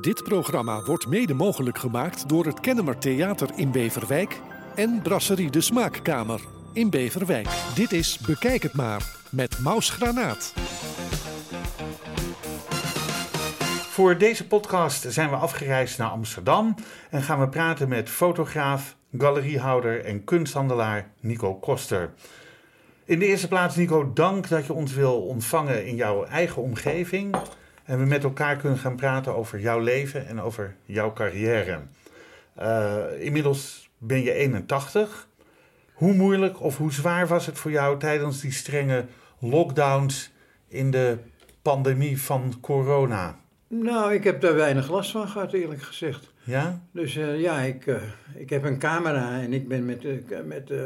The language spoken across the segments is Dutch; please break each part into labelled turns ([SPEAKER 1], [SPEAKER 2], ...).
[SPEAKER 1] Dit programma wordt mede mogelijk gemaakt door het Kennemer Theater in Beverwijk en Brasserie de Smaakkamer in Beverwijk. Dit is Bekijk het maar met Maus Granaat.
[SPEAKER 2] Voor deze podcast zijn we afgereisd naar Amsterdam en gaan we praten met fotograaf, galeriehouder en kunsthandelaar Nico Koster. In de eerste plaats, Nico, dank dat je ons wil ontvangen in jouw eigen omgeving. En we met elkaar kunnen gaan praten over jouw leven en over jouw carrière. Uh, inmiddels ben je 81. Hoe moeilijk of hoe zwaar was het voor jou tijdens die strenge lockdowns in de pandemie van corona?
[SPEAKER 3] Nou, ik heb daar weinig last van gehad, eerlijk gezegd.
[SPEAKER 2] Ja?
[SPEAKER 3] Dus uh, ja, ik, uh, ik heb een camera en ik ben met. eh, met eh,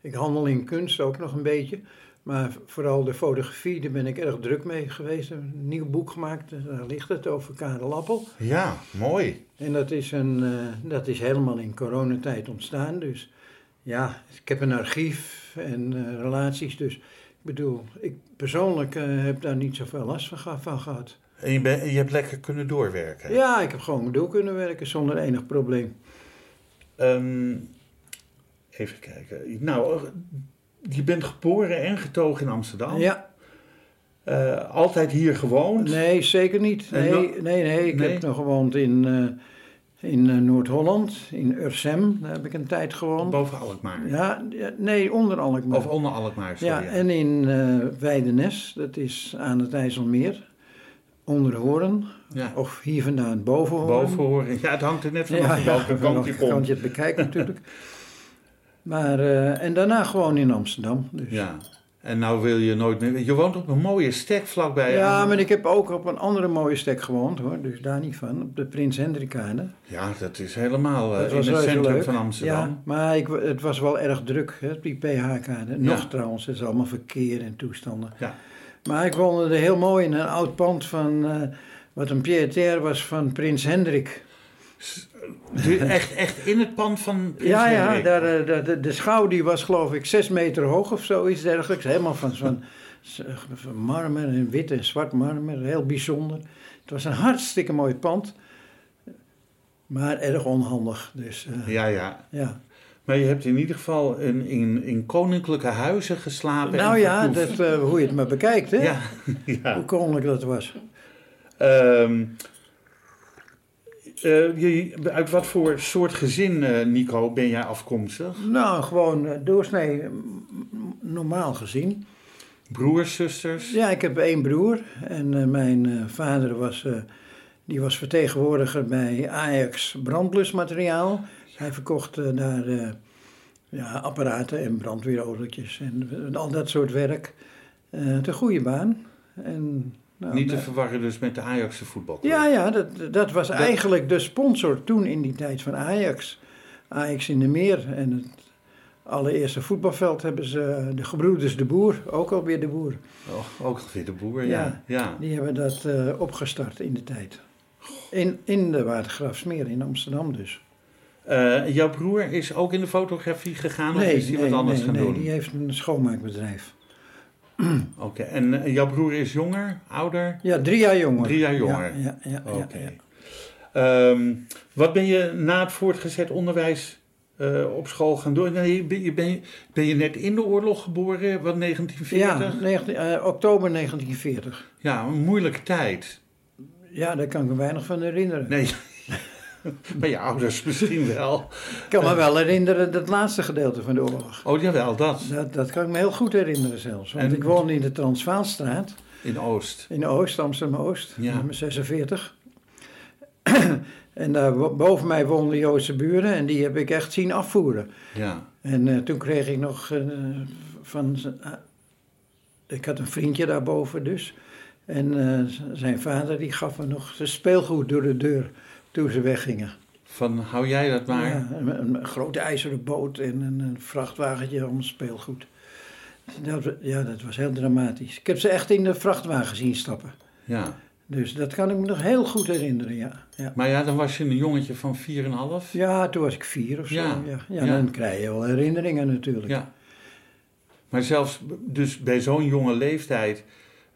[SPEAKER 3] ik handel in kunst ook nog een beetje. Maar vooral de fotografie, daar ben ik erg druk mee geweest. Een nieuw boek gemaakt, eh, daar ligt het over Karel Appel.
[SPEAKER 2] Ja, mooi.
[SPEAKER 3] En dat is, een, eh, dat is helemaal in coronatijd ontstaan. Dus ja, ik heb een archief en eh, relaties. Dus ik bedoel, ik persoonlijk eh, heb daar niet zoveel last van, geha- van gehad.
[SPEAKER 2] En je, ben- je hebt lekker kunnen doorwerken.
[SPEAKER 3] Ja, ik heb gewoon door kunnen werken zonder enig probleem.
[SPEAKER 2] Ehm, even kijken. Nou, je bent geboren en getogen in Amsterdam.
[SPEAKER 3] Ja,
[SPEAKER 2] Eh, altijd hier gewoond.
[SPEAKER 3] nee, zeker niet.
[SPEAKER 2] En
[SPEAKER 3] Nee,
[SPEAKER 2] nog-
[SPEAKER 3] nee, nee. Ik
[SPEAKER 2] Nee?
[SPEAKER 3] heb nog gewoond in, eh, in eh, Noord-Holland, in Ursem. Daar heb ik een tijd gewoond.
[SPEAKER 2] Boven Alkmaar.
[SPEAKER 3] Ja, ja, nee, onder Alkmaar.
[SPEAKER 2] Of onder Alkmaar,
[SPEAKER 3] Ja,
[SPEAKER 2] sorry.
[SPEAKER 3] en in eh Weidenes, dat is aan het IJsselmeer, onder Hoorn,
[SPEAKER 2] Ja.
[SPEAKER 3] of hier vandaan boven Hoorn.
[SPEAKER 2] Boven horen. Ja, het hangt er net vanaf welke
[SPEAKER 3] van
[SPEAKER 2] kant
[SPEAKER 3] welke
[SPEAKER 2] je komt.
[SPEAKER 3] kant je het bekijkt natuurlijk. Maar, eh, en daarna gewoon in Amsterdam. Dus.
[SPEAKER 2] Ja. En nou wil je nooit meer... Je woont op een mooie stek vlakbij.
[SPEAKER 3] Ja,
[SPEAKER 2] aan-
[SPEAKER 3] maar ik heb ook op een andere mooie stek gewoond hoor, dus daar niet van, op de Prins Hendrikade.
[SPEAKER 2] Ja, dat is helemaal eh,
[SPEAKER 3] Dat was
[SPEAKER 2] in het
[SPEAKER 3] reuze
[SPEAKER 2] centrum
[SPEAKER 3] leuk.
[SPEAKER 2] van Amsterdam.
[SPEAKER 3] Ja, maar ik, het was wel erg druk, hè, op die PH-kade. Nog
[SPEAKER 2] Ja.
[SPEAKER 3] trouwens, het is allemaal verkeer en toestanden.
[SPEAKER 2] Ja.
[SPEAKER 3] Maar ik woonde er heel mooi in een oud pand van, eh, wat een pied-à-terre was van prins Hendrik.
[SPEAKER 2] Dus Echt, echt in het pand van Prins
[SPEAKER 3] ja, ja,
[SPEAKER 2] Hendrik.
[SPEAKER 3] daar, eh, de, de, de schouw die was geloof ik zes meter hoog of zoiets dergelijks. Helemaal van zo'n van marmer en wit en zwart marmer, heel bijzonder. Het was een hartstikke mooi pand, maar erg onhandig. Dus eh,
[SPEAKER 2] Ja, ja.
[SPEAKER 3] ja.
[SPEAKER 2] Maar je hebt in ieder geval in, in, in koninklijke huizen geslapen.
[SPEAKER 3] Nou
[SPEAKER 2] en
[SPEAKER 3] ja, dat,
[SPEAKER 2] vertoefd.
[SPEAKER 3] eh, hoe je het maar bekijkt, hè?
[SPEAKER 2] Ja, ja.
[SPEAKER 3] Hoe koninklijk dat was.
[SPEAKER 2] Ehm, eh, je, uit wat voor soort gezin, eh, Nico, ben jij afkomstig?
[SPEAKER 3] Nou, gewoon eh, doorsnee, m- m- normaal gezien.
[SPEAKER 2] Broers, zusters?
[SPEAKER 3] Ja, ik heb één broer en eh, mijn eh, vader was, eh, die was vertegenwoordiger bij Ajax brandblusmateriaal. Hij verkocht eh, daar eh, ja, apparaten en brandweeroldertjes en eh, al dat soort werk. Eh de goede baan. En, nou,
[SPEAKER 2] Niet te
[SPEAKER 3] daar-
[SPEAKER 2] verwarren dus met de Ajaxse voetbalclub.
[SPEAKER 3] ja, ja, dat, dat was eigenlijk de sponsor toen in die tijd van Ajax. Ajax in de Meer en het allereerste voetbalveld hebben ze eh, de gebroeders De Boer, ook alweer De Boer.
[SPEAKER 2] Oh, ook weer de boer, ja. ja.
[SPEAKER 3] Die hebben dat eh, opgestart in de tijd. In, in de Watergraafsmeer in Amsterdam dus.
[SPEAKER 2] Eh, jouw broer is ook in de fotografie gegaan of is hij wat anders
[SPEAKER 3] nee,
[SPEAKER 2] gaan
[SPEAKER 3] nee,
[SPEAKER 2] doen?
[SPEAKER 3] die eh, heeft een schoonmaakbedrijf.
[SPEAKER 2] Oké, en eh, jouw broer is jonger, ouder?
[SPEAKER 3] Ja, drie jaar jonger.
[SPEAKER 2] Drie jaar jonger.
[SPEAKER 3] Ja, ja, ja, ja,
[SPEAKER 2] Oké.
[SPEAKER 3] ja.
[SPEAKER 2] Ehm, wat ben je na het voortgezet onderwijs eh, op school gaan doen? Nee, ben, je, ben, je, ben je net in de oorlog geboren, wat
[SPEAKER 3] Ja,
[SPEAKER 2] 1940? Ja,
[SPEAKER 3] 19 eh, oktober 1940.
[SPEAKER 2] een moeilijke tijd.
[SPEAKER 3] Ja, daar kan ik me weinig van herinneren.
[SPEAKER 2] Nee, bij je ouders misschien wel.
[SPEAKER 3] Ik kan me wel herinneren dat laatste gedeelte van de oorlog.
[SPEAKER 2] Oh, jawel, dat.
[SPEAKER 3] Dat, dat kan ik me heel goed herinneren zelfs. Want
[SPEAKER 2] En-
[SPEAKER 3] ik woonde in de Transvaalstraat.
[SPEAKER 2] In Oost.
[SPEAKER 3] In Oost, Amsterdam-Oost,
[SPEAKER 2] Ja.
[SPEAKER 3] nummer 46. en daar wo- boven mij woonden Joodse buren en die heb ik echt zien afvoeren.
[SPEAKER 2] Ja,
[SPEAKER 3] En eh, toen kreeg ik nog eh, van... z- ah, ik had een vriendje daarboven dus. En eh, z- zijn vader die gaf me nog zijn speelgoed door de deur toen ze weggingen.
[SPEAKER 2] van hou jij dat maar.
[SPEAKER 3] Ja, een, een- een grote ijzeren boot en een, een vrachtwagentje om speelgoed. Dat, ja, dat was heel dramatisch. Ik heb ze echt in de vrachtwagen zien stappen.
[SPEAKER 2] ja.
[SPEAKER 3] Dus dat kan ik me nog heel goed herinneren, ja. Ja,
[SPEAKER 2] Maar ja, dan was je een jongetje van 4,5.
[SPEAKER 3] ja toen was ik vier of zo.
[SPEAKER 2] Ja,
[SPEAKER 3] Ja, ja.
[SPEAKER 2] ja.
[SPEAKER 3] dan krijg je wel herinneringen natuurlijk.
[SPEAKER 2] Ja. Maar zelfs b- dus bij zo'n jonge leeftijd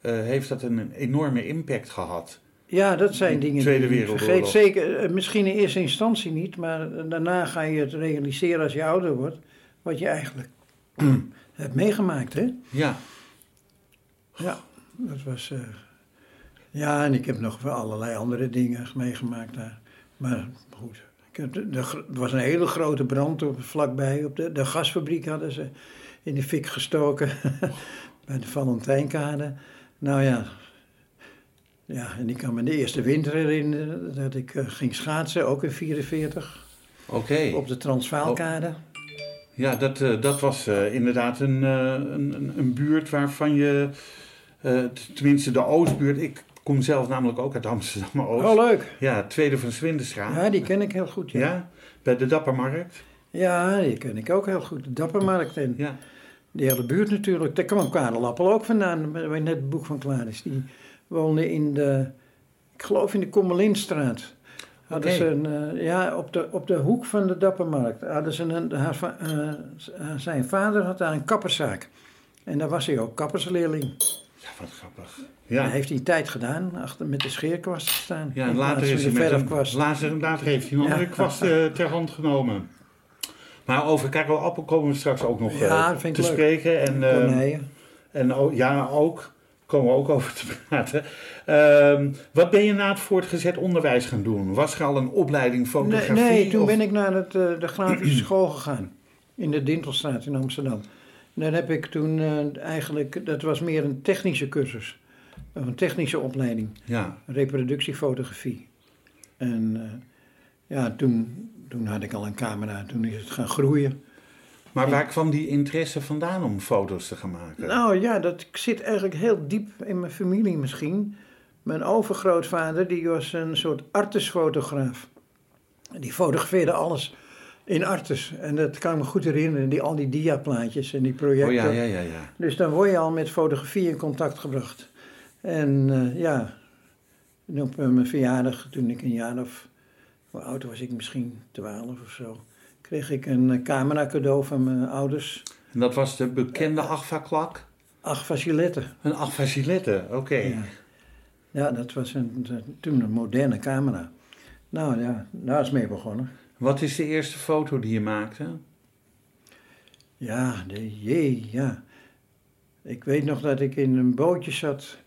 [SPEAKER 2] eh, heeft dat een enorme impact gehad.
[SPEAKER 3] Ja, dat zijn dingen die
[SPEAKER 2] Tweede
[SPEAKER 3] je niet
[SPEAKER 2] Wereldoorlog.
[SPEAKER 3] vergeet. Zeker, eh, misschien in eerste instantie niet, maar eh, daarna ga je het realiseren als je ouder wordt, wat je eigenlijk hebt meegemaakt, hè?
[SPEAKER 2] Ja.
[SPEAKER 3] Ja, dat was. eh, ja, en ik heb nog wel allerlei andere dingen meegemaakt daar. Maar goed. Ik heb de- de gro- er was een hele grote brand op, vlakbij. Op de, de gasfabriek hadden ze in de fik gestoken. bij de Valentijnkade. Nou ja. Ja, en ik kan me de eerste winter herinneren dat ik eh, ging schaatsen, ook in 44,
[SPEAKER 2] Oké.
[SPEAKER 3] op de Transvaalkade.
[SPEAKER 2] Ja, dat, eh, dat was eh, inderdaad een, eh, een, een- een buurt waarvan je, eh, t- tenminste de Oostbuurt, ik kom zelf namelijk ook uit Amsterdam-Oost.
[SPEAKER 3] Oh, leuk.
[SPEAKER 2] Ja, Tweede van Swindestraat. Ja.
[SPEAKER 3] Ja, die ken ik heel goed. Ja,
[SPEAKER 2] bij de Dappermarkt.
[SPEAKER 3] ja die ken ik ook heel goed. De Dappermarkt en
[SPEAKER 2] Ja,
[SPEAKER 3] De hele buurt natuurlijk. Daar kwam Karel Appel ook vandaan, waar net het boek van klaar is. Die woonde in de, ik geloof in de Kommelinstraat. Hadden
[SPEAKER 2] Oké.
[SPEAKER 3] ze een, eh, ja, op de, op de hoek van de Dappermarkt. Hadden ze een, haar va- eh, z- eh, zijn vader had daar een kapperszaak. En daar was hij ook kappersleerling.
[SPEAKER 2] ja wat grappig.
[SPEAKER 3] Hij
[SPEAKER 2] Ja,
[SPEAKER 3] heeft die tijd gedaan, achter, met de scheerkwast te staan.
[SPEAKER 2] ja
[SPEAKER 3] In
[SPEAKER 2] en later,
[SPEAKER 3] plaats
[SPEAKER 2] is hij
[SPEAKER 3] van de
[SPEAKER 2] met
[SPEAKER 3] verfkwast.
[SPEAKER 2] een, later, later heeft hij een
[SPEAKER 3] Ja.
[SPEAKER 2] andere kwast eh, ter hand genomen. Maar over Karel Appel komen we straks ook nog eh,
[SPEAKER 3] Ja, dat
[SPEAKER 2] te
[SPEAKER 3] vind ik leuk.
[SPEAKER 2] spreken. En, eh,
[SPEAKER 3] Konijnen.
[SPEAKER 2] En o- ja, ook. Komen we ook over te praten. Ehm, wat ben je na het voortgezet onderwijs gaan doen? Was er al een opleiding
[SPEAKER 3] Nee,
[SPEAKER 2] fotografie?
[SPEAKER 3] nee, toen
[SPEAKER 2] of-
[SPEAKER 3] ben ik naar het, eh, de grafische school gegaan. In de Dintelstraat in Amsterdam. En daar heb ik toen eh, eigenlijk, dat was meer een technische cursus. Of een technische opleiding.
[SPEAKER 2] Ja,
[SPEAKER 3] Reproductiefotografie. En eh, ja, toen, toen had ik al een camera. Toen is het gaan groeien.
[SPEAKER 2] maar waar kwam die interesse vandaan om foto's te gaan maken? Oh,
[SPEAKER 3] Nou ja, dat zit eigenlijk heel diep in mijn familie misschien. Mijn overgrootvader, die was een soort artesfotograaf. Die fotografeerde alles in artes. En dat kan ik me goed herinneren, die, al die diaplaatjes en die projecten.
[SPEAKER 2] oh ja, ja, ja, ja.
[SPEAKER 3] Dus dan word je al met fotografie in contact gebracht. En eh, ja, en op eh, mijn verjaardag, toen ik een jaar of... Hoe oud was ik? Misschien twaalf of zo. Kreeg ik een eh, camera cadeau van mijn ouders.
[SPEAKER 2] En dat was de bekende
[SPEAKER 3] Eh,
[SPEAKER 2] Agfa-klak?
[SPEAKER 3] Acht faciletten.
[SPEAKER 2] Een Agfa-gilette, oké.
[SPEAKER 3] Ja. Ja, dat was een, een- toen een moderne camera. Nou ja, daar is mee begonnen.
[SPEAKER 2] Wat is de eerste foto die je maakte?
[SPEAKER 3] Ja, de jee, ja. Ik weet nog dat ik in een bootje zat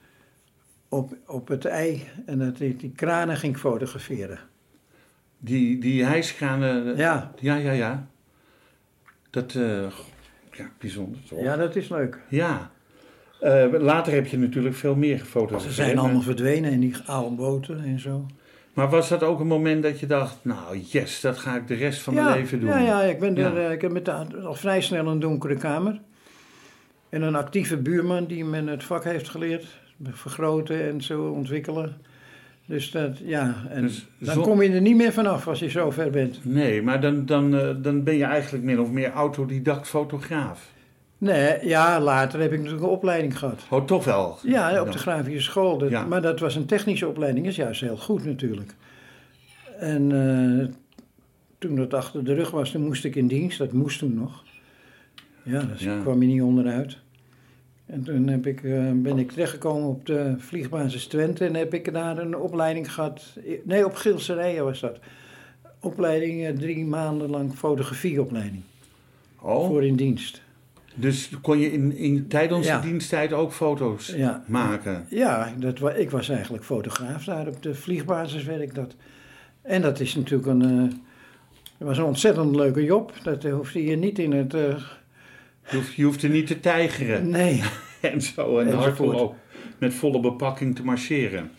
[SPEAKER 3] op, op het ei en dat ik die kranen ging fotograferen.
[SPEAKER 2] Die, die hijskranen...
[SPEAKER 3] Ja,
[SPEAKER 2] ja, ja. ja. Dat, eh, ja, bijzonder toch?
[SPEAKER 3] ja dat is leuk.
[SPEAKER 2] Ja. Eh, later heb je natuurlijk veel meer gefotografeerd.
[SPEAKER 3] Ze zijn allemaal verdwenen in die oude boten en zo.
[SPEAKER 2] Maar was dat ook een moment dat je dacht, nou yes, dat ga ik de rest van
[SPEAKER 3] ja,
[SPEAKER 2] mijn leven doen?
[SPEAKER 3] Ja, ja ik, ben
[SPEAKER 2] Ja.
[SPEAKER 3] Er, eh, ik heb met de, al vrij snel een donkere kamer. En een actieve buurman die men het vak heeft geleerd. Vergroten en zo ontwikkelen. Dus dat, ja. En
[SPEAKER 2] Dus
[SPEAKER 3] dan
[SPEAKER 2] zo-
[SPEAKER 3] kom je er niet meer vanaf als je zo ver bent.
[SPEAKER 2] Nee, maar dan, dan, eh, dan ben je eigenlijk min of meer autodidact fotograaf.
[SPEAKER 3] Nee, ja, later heb ik natuurlijk een opleiding gehad.
[SPEAKER 2] Oh, toch wel?
[SPEAKER 3] Ja, op
[SPEAKER 2] Dan.
[SPEAKER 3] de grafische school. Dat-
[SPEAKER 2] Ja.
[SPEAKER 3] Maar dat was een technische opleiding, is juist heel goed natuurlijk. En eh, toen dat achter de rug was, toen moest ik in dienst. Dat moest toen nog. Ja, daar
[SPEAKER 2] Ja.
[SPEAKER 3] kwam je niet onderuit. En toen heb ik, eh, ben ik terechtgekomen op de vliegbasis Twente en heb ik daar een opleiding gehad. Nee, op Gilserijen was dat. Opleiding, eh, drie maanden lang fotografieopleiding.
[SPEAKER 2] Oh,
[SPEAKER 3] Voor in dienst.
[SPEAKER 2] dus kon je in, in, tijdens
[SPEAKER 3] Ja.
[SPEAKER 2] de diensttijd ook foto's
[SPEAKER 3] Ja,
[SPEAKER 2] maken?
[SPEAKER 3] Ja, dat wa- ik was eigenlijk fotograaf daar op de vliegbasis, weet ik dat. En dat is natuurlijk een. eh, dat was een ontzettend leuke job. Dat hoefde je niet in het. eh,
[SPEAKER 2] Je hoeft, je hoeft er niet te tijgeren
[SPEAKER 3] nee.
[SPEAKER 2] en zo en
[SPEAKER 3] Enzovoort.
[SPEAKER 2] hardop met volle bepakking te marcheren.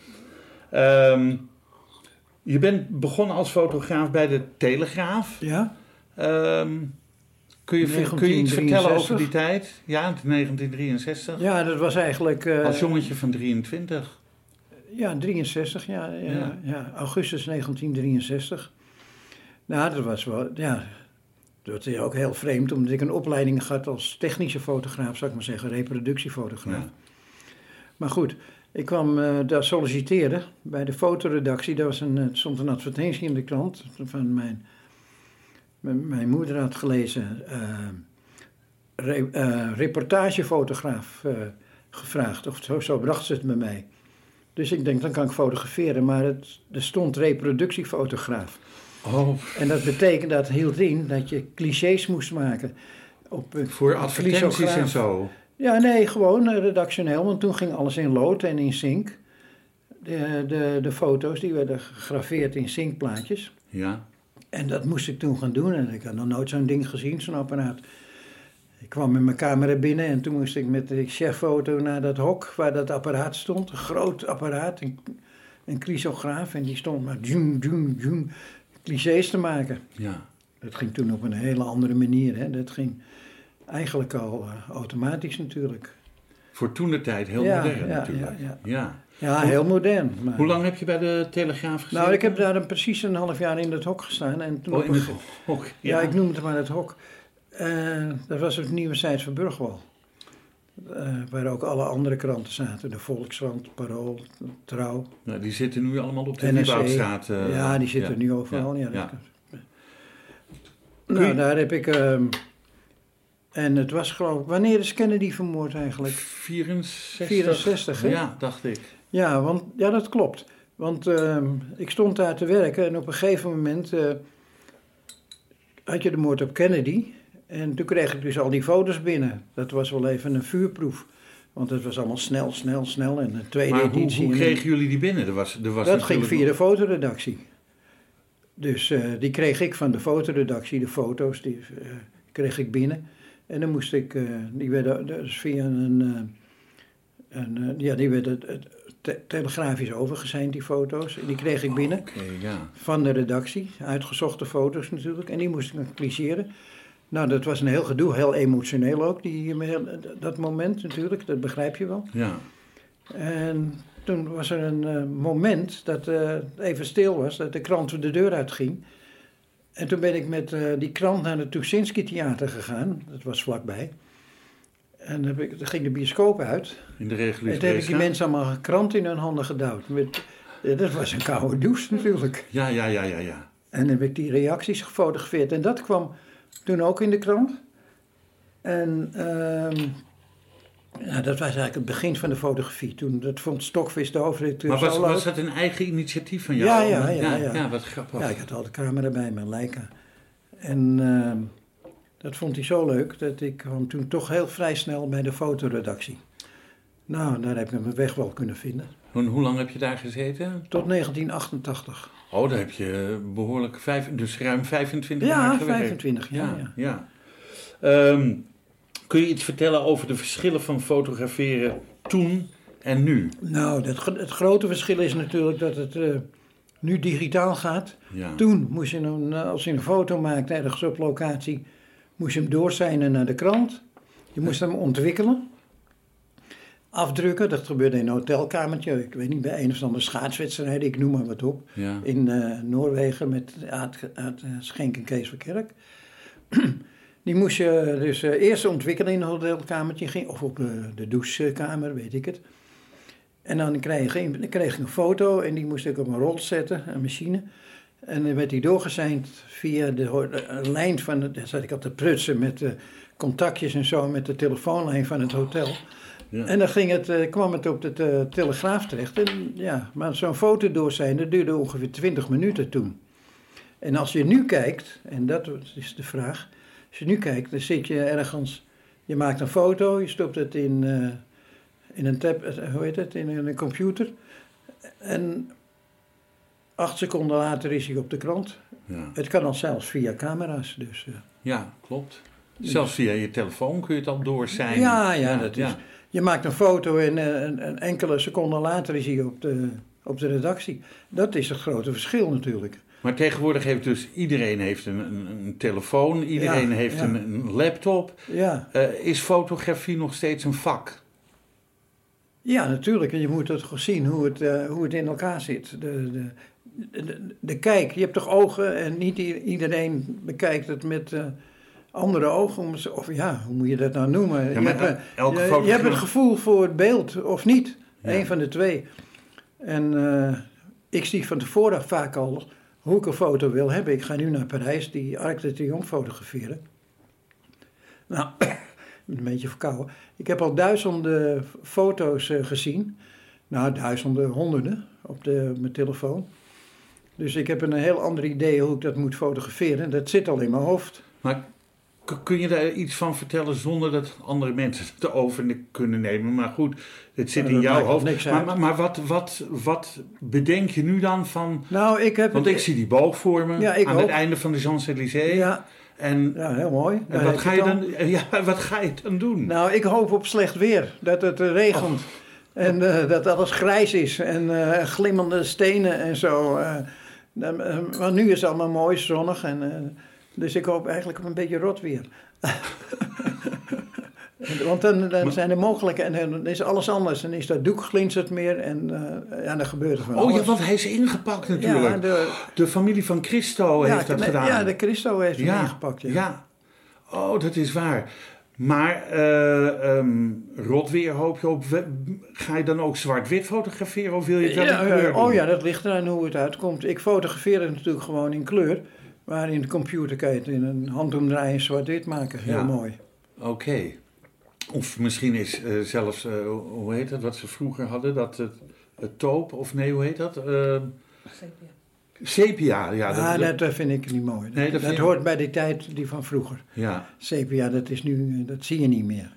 [SPEAKER 2] Ehm, je bent begonnen als fotograaf bij de Telegraaf.
[SPEAKER 3] Ja?
[SPEAKER 2] Ehm, kun, je, kun je iets
[SPEAKER 3] 1963?
[SPEAKER 2] vertellen over die tijd? Ja, 1963.
[SPEAKER 3] Ja, dat was eigenlijk. eh,
[SPEAKER 2] Als jongetje van 23.
[SPEAKER 3] Ja, 63, ja, ja,
[SPEAKER 2] Ja.
[SPEAKER 3] ja. Augustus 1963. Nou, dat was wel, ja. Dat is ook heel vreemd, omdat ik een opleiding had als technische fotograaf, zou ik maar zeggen, reproductiefotograaf.
[SPEAKER 2] Ja.
[SPEAKER 3] Maar goed, ik kwam eh, daar solliciteren bij de fotoredactie. Daar was een, eh, stond een advertentie in de krant van mijn, mijn, mijn moeder had gelezen. eh, re- eh, reportagefotograaf eh, gevraagd, of zo, zo bracht ze het bij mij. Dus ik denk, dan kan ik fotograferen. Maar het, er stond reproductiefotograaf.
[SPEAKER 2] Oh,
[SPEAKER 3] En dat betekent, dat hield in dat je clichés moest maken. Op, een
[SPEAKER 2] voor advertenties
[SPEAKER 3] clichograaf.
[SPEAKER 2] en zo.
[SPEAKER 3] Ja, nee, gewoon eh, redactioneel. Want toen ging alles in lood en in zink. De, de, de foto's die werden gegraveerd in zinkplaatjes.
[SPEAKER 2] Ja.
[SPEAKER 3] En dat moest ik toen gaan doen. En ik had nog nooit zo'n ding gezien, zo'n apparaat. Ik kwam met mijn camera binnen en toen moest ik met de cheffoto naar dat hok waar dat apparaat stond. Een groot apparaat, een, een chrysograaf. En die stond maar zoom, zoom, zoom, clichés te maken.
[SPEAKER 2] ja.
[SPEAKER 3] Dat ging toen op een hele andere manier. Hè? Dat ging eigenlijk al eh, automatisch natuurlijk.
[SPEAKER 2] Voor toen de tijd heel
[SPEAKER 3] Ja,
[SPEAKER 2] modern
[SPEAKER 3] ja,
[SPEAKER 2] natuurlijk.
[SPEAKER 3] ja, ja.
[SPEAKER 2] ja.
[SPEAKER 3] Ja, heel modern. Maar...
[SPEAKER 2] Hoe lang heb je bij de Telegraaf gezeten?
[SPEAKER 3] Nou, ik heb daar een, precies een half jaar in dat hok gestaan. En toen
[SPEAKER 2] Oh,
[SPEAKER 3] op
[SPEAKER 2] in
[SPEAKER 3] een
[SPEAKER 2] het
[SPEAKER 3] ge-
[SPEAKER 2] hok.
[SPEAKER 3] Ja, ik noem het maar het hok. Eh, dat was het Nieuwe Zijds van Burgwal. Eh, waar ook alle andere kranten zaten. De Volkskrant, Parool, Trouw.
[SPEAKER 2] Nou, die zitten nu allemaal op de
[SPEAKER 3] NRC.
[SPEAKER 2] Nieuwbouwstraat. eh,
[SPEAKER 3] E. ja, die zitten nu overal.
[SPEAKER 2] ja,
[SPEAKER 3] Ja, dat
[SPEAKER 2] ja.
[SPEAKER 3] kan-
[SPEAKER 2] Kun je-
[SPEAKER 3] Nou, daar heb ik... ehm, en het was geloof ik... Wanneer is Kennedy vermoord eigenlijk?
[SPEAKER 2] 64.
[SPEAKER 3] 64, hè?
[SPEAKER 2] Ja, dacht ik.
[SPEAKER 3] Ja, want, ja dat klopt. Want ehm, ik stond daar te werken en op een gegeven moment eh, had je de moord op Kennedy. En toen kreeg ik dus al die foto's binnen. Dat was wel even een vuurproef. Want het was allemaal snel, snel, snel. En een tweede
[SPEAKER 2] Maar hoe,
[SPEAKER 3] editie.
[SPEAKER 2] hoe
[SPEAKER 3] en-
[SPEAKER 2] kregen jullie die binnen? Er was, er was
[SPEAKER 3] dat ging
[SPEAKER 2] natuurlijk-
[SPEAKER 3] via de fotoredactie. Dus eh, die kreeg ik van de fotoredactie, de foto's, die eh, kreeg ik binnen. En dan moest ik, eh, die werden dus via een, eh, een eh, ja, die werden eh, te- telegrafisch overgezeind, die foto's. En die kreeg ik binnen
[SPEAKER 2] Oké, ja.
[SPEAKER 3] van de redactie, uitgezochte foto's natuurlijk. En die moest ik dan clicheren. Nou, dat was een heel gedoe, heel emotioneel ook, die, eh, dat moment natuurlijk, dat begrijp je wel.
[SPEAKER 2] ja.
[SPEAKER 3] En toen was er een eh, moment dat eh, het even stil was, dat de krant de deur uitging. En toen ben ik met eh, die krant naar het Tuschinski Theater gegaan, dat was vlakbij. En heb ik, toen ging de bioscoop uit.
[SPEAKER 2] In de
[SPEAKER 3] en toen heb ik die
[SPEAKER 2] reguliere
[SPEAKER 3] mensen allemaal een krant in hun handen gedouwd. Met, ja, dat was een koude douche natuurlijk.
[SPEAKER 2] Ja, ja, ja, ja, ja.
[SPEAKER 3] En heb ik die reacties gefotografeerd. En dat kwam toen ook in de krant. En ehm, ja, dat was eigenlijk het begin van de fotografie. Toen, dat vond Stokvis de hoofdredacteur.
[SPEAKER 2] Maar was,
[SPEAKER 3] zo leuk.
[SPEAKER 2] was dat een eigen initiatief van jou?
[SPEAKER 3] Dus Ja, ja, ja,
[SPEAKER 2] Ja,
[SPEAKER 3] ja.
[SPEAKER 2] wat grappig.
[SPEAKER 3] Ja, ik had al de camera bij me, Leica. En ehm, dat vond hij zo leuk dat ik kwam toen toch heel vrij snel bij de fotoredactie. Nou, daar heb ik mijn weg wel kunnen vinden.
[SPEAKER 2] Hoe, hoe lang heb je daar gezeten?
[SPEAKER 3] Tot 1988.
[SPEAKER 2] Oh, daar heb je behoorlijk vijf, dus ruim 25 jaar
[SPEAKER 3] Ja,
[SPEAKER 2] gewerkt.
[SPEAKER 3] 25
[SPEAKER 2] Ja,
[SPEAKER 3] jaar. ja.
[SPEAKER 2] ja. Ehm, kun je iets vertellen over de verschillen van fotograferen toen en nu?
[SPEAKER 3] Nou, dat, gro- het grote verschil is natuurlijk dat het eh, nu digitaal gaat.
[SPEAKER 2] Ja.
[SPEAKER 3] Toen moest je een, eh, als je een foto maakte ergens op locatie, moest je hem doorzijnen naar de krant. Je moest hem ontwikkelen. Afdrukken, dat gebeurde in een hotelkamertje, ik weet niet, bij een of andere schaatswedstrijd, ik noem maar wat op
[SPEAKER 2] Ja.
[SPEAKER 3] in eh, Noorwegen met Aad, Aad Schenk en Kees van Kerk. Die moest je dus eh, eerst ontwikkelen in een hotelkamertje, ging- of op de, de douchekamer, weet ik het. En dan kreeg, ik- dan kreeg ik een foto en die moest ik op een rol zetten, een machine. En dan werd die doorgezeind via de ho- eh, lijn van, het- daar zat ik al te prutsen met eh, contactjes en zo, met de telefoonlijn van het hotel.
[SPEAKER 2] Ja.
[SPEAKER 3] En dan ging het, eh, kwam het op de te- telegraaf terecht. En, ja, maar zo'n foto door zijn, dat duurde ongeveer 20 minuten toen. En als je nu kijkt, en dat is de vraag. Als je nu kijkt, dan zit je ergens. Je maakt een foto, je stopt het in, eh, in een tab, eh, hoe heet het, in een computer. En acht seconden later is hij op de krant.
[SPEAKER 2] Ja.
[SPEAKER 3] Het kan al zelfs via camera's, dus. eh.
[SPEAKER 2] Ja, klopt. Zelfs Dus via je telefoon kun je het al doorzijnen.
[SPEAKER 3] Ja, ja, dus- dat is- Je maakt een foto en eh, een, een enkele seconde later is hij op de, op de redactie. Dat is het grote verschil natuurlijk.
[SPEAKER 2] Maar tegenwoordig heeft dus iedereen heeft een, een, een telefoon, iedereen
[SPEAKER 3] Ja,
[SPEAKER 2] heeft
[SPEAKER 3] ja.
[SPEAKER 2] Een, een laptop.
[SPEAKER 3] Ja,
[SPEAKER 2] Eh, is fotografie nog steeds een vak?
[SPEAKER 3] ja natuurlijk. En je moet het gewoon zien hoe het, eh, hoe het in elkaar zit. De, de, de, de kijk, je hebt toch ogen en niet i- iedereen bekijkt het met eh, andere ogen. om ze- Of ja, hoe moet je dat nou noemen?
[SPEAKER 2] Ja,
[SPEAKER 3] je,
[SPEAKER 2] maar
[SPEAKER 3] hebt, eh,
[SPEAKER 2] elke
[SPEAKER 3] je,
[SPEAKER 2] fotograaf-
[SPEAKER 3] je hebt het gevoel voor het beeld of niet.
[SPEAKER 2] Ja.
[SPEAKER 3] Eén van de twee. En eh, ik zie van tevoren vaak al hoe ik een foto wil hebben. Ik ga nu naar Parijs die Arc de Triomphe fotograferen. Nou, ik ben een beetje verkouden. Ik heb al duizenden foto's eh, gezien. nou, duizenden, honderden op de, mijn telefoon. Dus ik heb een heel ander idee hoe ik dat moet fotograferen. Dat zit al in mijn hoofd.
[SPEAKER 2] Maar k- kun je daar iets van vertellen zonder dat andere mensen het over kunnen nemen? Maar goed, het zit
[SPEAKER 3] Ja,
[SPEAKER 2] in
[SPEAKER 3] dat
[SPEAKER 2] jouw
[SPEAKER 3] maakt
[SPEAKER 2] hoofd.
[SPEAKER 3] niks
[SPEAKER 2] maar
[SPEAKER 3] uit.
[SPEAKER 2] maar, maar wat, wat, wat bedenk je nu dan van...
[SPEAKER 3] Nou, ik heb...
[SPEAKER 2] Want ik zie die boog voor me
[SPEAKER 3] Ja, ik
[SPEAKER 2] aan
[SPEAKER 3] ook.
[SPEAKER 2] het einde van de Champs-Élysées.
[SPEAKER 3] Ja,
[SPEAKER 2] En,
[SPEAKER 3] ja, heel mooi. Daar
[SPEAKER 2] en
[SPEAKER 3] heb
[SPEAKER 2] wat, ga
[SPEAKER 3] het
[SPEAKER 2] je
[SPEAKER 3] al.
[SPEAKER 2] dan, eh, ja, wat ga je dan doen?
[SPEAKER 3] Nou, ik hoop op slecht weer. Dat het eh, regent.
[SPEAKER 2] Oh.
[SPEAKER 3] En eh, dat alles grijs is. En eh, glimmende stenen en zo. eh. Dan, eh, maar nu is het allemaal mooi zonnig. En, eh, dus ik hoop eigenlijk op een beetje rot weer. Want dan, dan zijn er mogelijke en dan is alles anders. Dan is dat doek glinstert meer en eh, ja, dan gebeurt er van
[SPEAKER 2] oh
[SPEAKER 3] alles.
[SPEAKER 2] ja, want hij is ingepakt natuurlijk.
[SPEAKER 3] Ja,
[SPEAKER 2] de,
[SPEAKER 3] de,
[SPEAKER 2] familie van Christo
[SPEAKER 3] ja,
[SPEAKER 2] heeft dat
[SPEAKER 3] de-
[SPEAKER 2] gedaan.
[SPEAKER 3] ja, de Christo heeft hem ingepakt. Ja.
[SPEAKER 2] ja. Oh, dat is waar. Maar eh ehm rotweer hoop je op. We- Ga je dan ook zwart-wit fotograferen of wil je het wel
[SPEAKER 3] Ja,
[SPEAKER 2] in kleur
[SPEAKER 3] eh,
[SPEAKER 2] doen?
[SPEAKER 3] oh ja, dat ligt eraan hoe het uitkomt. Ik fotografeer het natuurlijk gewoon in kleur. Maar in de computer kan je het in een handomdraai zwart-wit maken. Heel
[SPEAKER 2] Ja.
[SPEAKER 3] mooi.
[SPEAKER 2] Oké. Of misschien is eh, zelfs, eh, hoe heet dat, wat ze vroeger hadden, dat het, het taupe, of nee, hoe heet dat? Eh, sepia, ja.
[SPEAKER 3] Ja,
[SPEAKER 2] Dat,
[SPEAKER 3] ah,
[SPEAKER 2] dat-
[SPEAKER 3] dat, eh, vind ik niet mooi.
[SPEAKER 2] Nee, dat
[SPEAKER 3] dat
[SPEAKER 2] vind ik-
[SPEAKER 3] hoort bij die tijd die van vroeger.
[SPEAKER 2] ja.
[SPEAKER 3] Sepia, dat is nu, eh, dat zie je niet meer.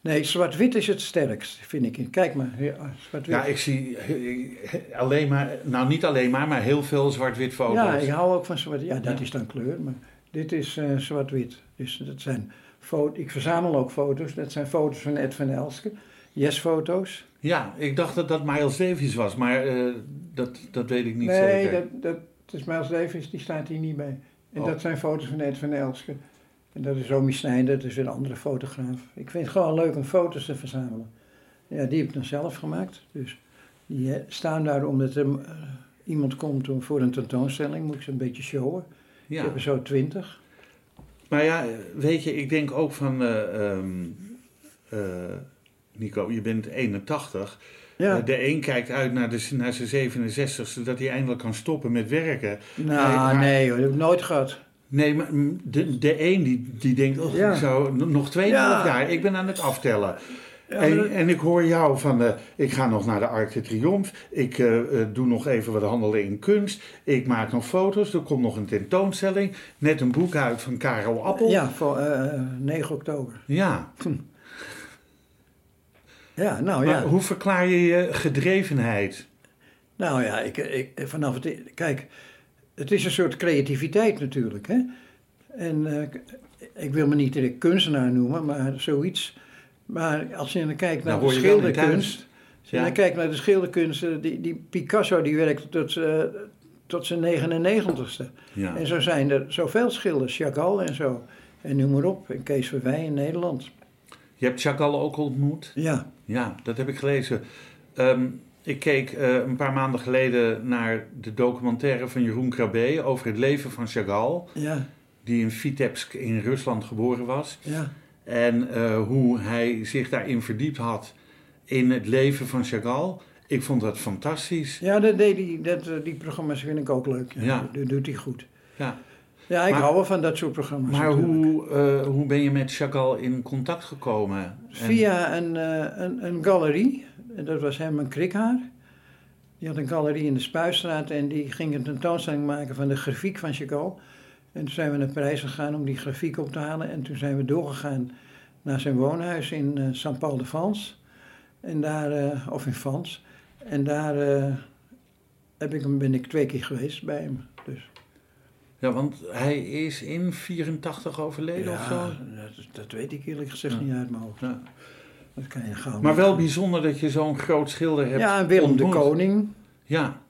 [SPEAKER 3] Nee, zwart-wit is het sterkst, vind ik. Kijk maar, ja, zwart-wit.
[SPEAKER 2] ja, ik zie eh, alleen maar, nou niet alleen maar, maar heel veel zwart-wit foto's.
[SPEAKER 3] Ja, ik hou ook van zwart. Ja, dat
[SPEAKER 2] Ja.
[SPEAKER 3] is dan kleur, maar dit is eh, zwart-wit. Dus dat zijn foto's. Ik verzamel ook foto's. Dat zijn foto's van Ed van Elske. Yes-foto's.
[SPEAKER 2] Ja, ik dacht dat dat Miles Davis was, maar eh, dat, dat weet ik niet
[SPEAKER 3] nee,
[SPEAKER 2] zeker.
[SPEAKER 3] dat, dat is Miles Davis, die staat hier niet bij. En
[SPEAKER 2] Oh.
[SPEAKER 3] dat zijn foto's van Ed van Elske. En dat is Romy Snijder, dat is een andere fotograaf. Ik vind het gewoon leuk om foto's te verzamelen. Ja, die heb ik dan zelf gemaakt. Dus die eh, staan daar omdat er eh, iemand komt om, voor een tentoonstelling. Moet ik ze een beetje showen.
[SPEAKER 2] Ja.
[SPEAKER 3] Ik heb er zo twintig.
[SPEAKER 2] Maar ja, weet je, ik denk ook van. eh, ehm, eh, Nico, je bent 81.
[SPEAKER 3] Ja,
[SPEAKER 2] Eh, De een kijkt uit naar, de, naar zijn 67ste dat hij eindelijk kan stoppen met werken.
[SPEAKER 3] nou
[SPEAKER 2] nee, maar-
[SPEAKER 3] nee hoor, dat heb ik nooit gehad.
[SPEAKER 2] Nee, maar mm, de, de een die, die denkt, oh,
[SPEAKER 3] Ja.
[SPEAKER 2] ik zou n- nog 2,5
[SPEAKER 3] Ja.
[SPEAKER 2] jaar, ik ben aan het aftellen.
[SPEAKER 3] Ja, maar
[SPEAKER 2] en,
[SPEAKER 3] dat-
[SPEAKER 2] en ik hoor jou van, eh, ik ga nog naar de Arc de Triomphe, ik eh, eh, doe nog even wat handelen in kunst, ik maak nog foto's, er komt nog een tentoonstelling, net een boek uit van Karel Appel.
[SPEAKER 3] Ja, voor, eh, 9 oktober.
[SPEAKER 2] Ja.
[SPEAKER 3] Ja, nou
[SPEAKER 2] Maar
[SPEAKER 3] ja.
[SPEAKER 2] hoe verklaar je je gedrevenheid?
[SPEAKER 3] Nou ja, ik, ik, vanaf het. Kijk, het is een soort creativiteit natuurlijk. Hè? En eh, ik- ik wil me niet direct kunstenaar noemen, maar zoiets. Maar als je dan kijkt naar
[SPEAKER 2] Nou,
[SPEAKER 3] de
[SPEAKER 2] hoor je wel niet
[SPEAKER 3] schilderkunst. Als je
[SPEAKER 2] Ja.
[SPEAKER 3] dan kijkt naar de schilderkunst, eh, die, die Picasso die werkte tot, eh, tot zijn 99ste.
[SPEAKER 2] Ja.
[SPEAKER 3] En zo zijn er zoveel schilders, Chagall en zo. En noem maar op, en Kees Verwij in Nederland.
[SPEAKER 2] Je hebt Chagall ook ontmoet?
[SPEAKER 3] Ja,
[SPEAKER 2] Ja, dat heb ik gelezen. Ehm, ik keek eh, een paar maanden geleden naar de documentaire van Jeroen Krabbe over het leven van Chagall,
[SPEAKER 3] ja,
[SPEAKER 2] die in Vitebsk in Rusland geboren was.
[SPEAKER 3] ja.
[SPEAKER 2] En eh, hoe hij zich daarin verdiept had in het leven van Chagall. Ik vond dat fantastisch.
[SPEAKER 3] Ja, dat deed die, dat, eh, die programma's vind ik ook leuk.
[SPEAKER 2] Ja.
[SPEAKER 3] Dat doet hij goed.
[SPEAKER 2] Ja.
[SPEAKER 3] Ja, ik
[SPEAKER 2] Maar-
[SPEAKER 3] hou wel van dat soort programma's.
[SPEAKER 2] Maar
[SPEAKER 3] natuurlijk.
[SPEAKER 2] hoe, eh, hoe ben je met Chagall in contact gekomen? En-
[SPEAKER 3] Via een, eh, een, een galerie, En dat was Herman Krikhaar. Die had een galerie in de Spuistraat en die ging een tentoonstelling maken van de grafiek van Chagall. En toen zijn we naar Parijs gegaan om die grafiek op te halen. En toen zijn we doorgegaan naar zijn woonhuis in eh Saint-Paul-de-Vans. En daar, eh, of in Vans. En daar eh, heb ik hem, ben ik twee keer geweest bij hem. Dus,
[SPEAKER 2] Ja, want hij is in 84 overleden of zo.
[SPEAKER 3] dat, dat weet ik eerlijk gezegd
[SPEAKER 2] Ja.
[SPEAKER 3] niet uit mijn hoofd. Nou,
[SPEAKER 2] Ja.
[SPEAKER 3] Dat kan je gauw
[SPEAKER 2] Maar wel
[SPEAKER 3] niet.
[SPEAKER 2] bijzonder dat je zo'n groot schilder hebt
[SPEAKER 3] Ja, en Willem
[SPEAKER 2] ontmoet.
[SPEAKER 3] de Koning.
[SPEAKER 2] Ja,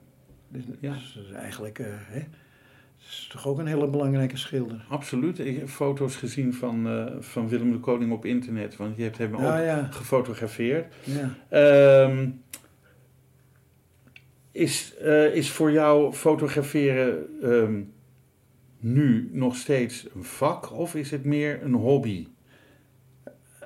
[SPEAKER 3] Dus dat
[SPEAKER 2] Ja.
[SPEAKER 3] is dus eigenlijk, eh, hè, dat is toch ook een hele belangrijke schilder.
[SPEAKER 2] absoluut. Ik heb foto's gezien van, eh, van Willem de Koning op internet, want je hebt hem ook
[SPEAKER 3] Ja, ja,
[SPEAKER 2] gefotografeerd.
[SPEAKER 3] ja.
[SPEAKER 2] Ehm, is, eh, is voor jou fotograferen ehm, nu nog steeds een vak of is het meer een hobby?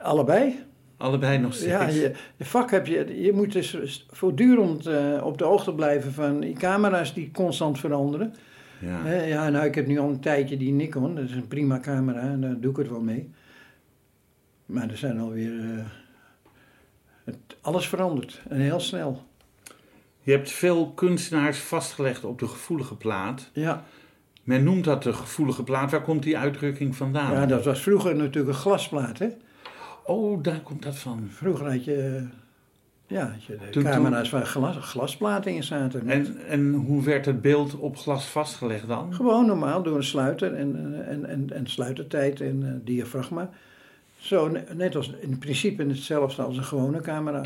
[SPEAKER 3] Allebei.
[SPEAKER 2] Allebei nog steeds.
[SPEAKER 3] Ja, je, je vak heb je, je moet dus voortdurend eh, op de hoogte blijven van die camera's die constant veranderen.
[SPEAKER 2] Ja.
[SPEAKER 3] Hè, ja, nou ik heb nu al een tijdje die Nikon, dat is een prima camera en daar doe ik het wel mee. Maar er zijn alweer, eh, het, alles verandert en heel snel.
[SPEAKER 2] Je hebt veel kunstenaars vastgelegd op de gevoelige plaat.
[SPEAKER 3] Ja.
[SPEAKER 2] Men noemt dat de gevoelige plaat. Waar komt die uitdrukking vandaan?
[SPEAKER 3] ja, dat was vroeger natuurlijk een glasplaat. Hè?
[SPEAKER 2] Oh, daar komt dat van.
[SPEAKER 3] Vroeger had je, eh, ja, had je de
[SPEAKER 2] Toen-
[SPEAKER 3] camera's waar glas, glasplaten in zaten.
[SPEAKER 2] En, en hoe werd het beeld op glas vastgelegd dan?
[SPEAKER 3] Gewoon normaal door een sluiter en, eh, en, en, en sluitertijd en eh, diafragma. Zo, ne- net als in principe hetzelfde als een gewone camera.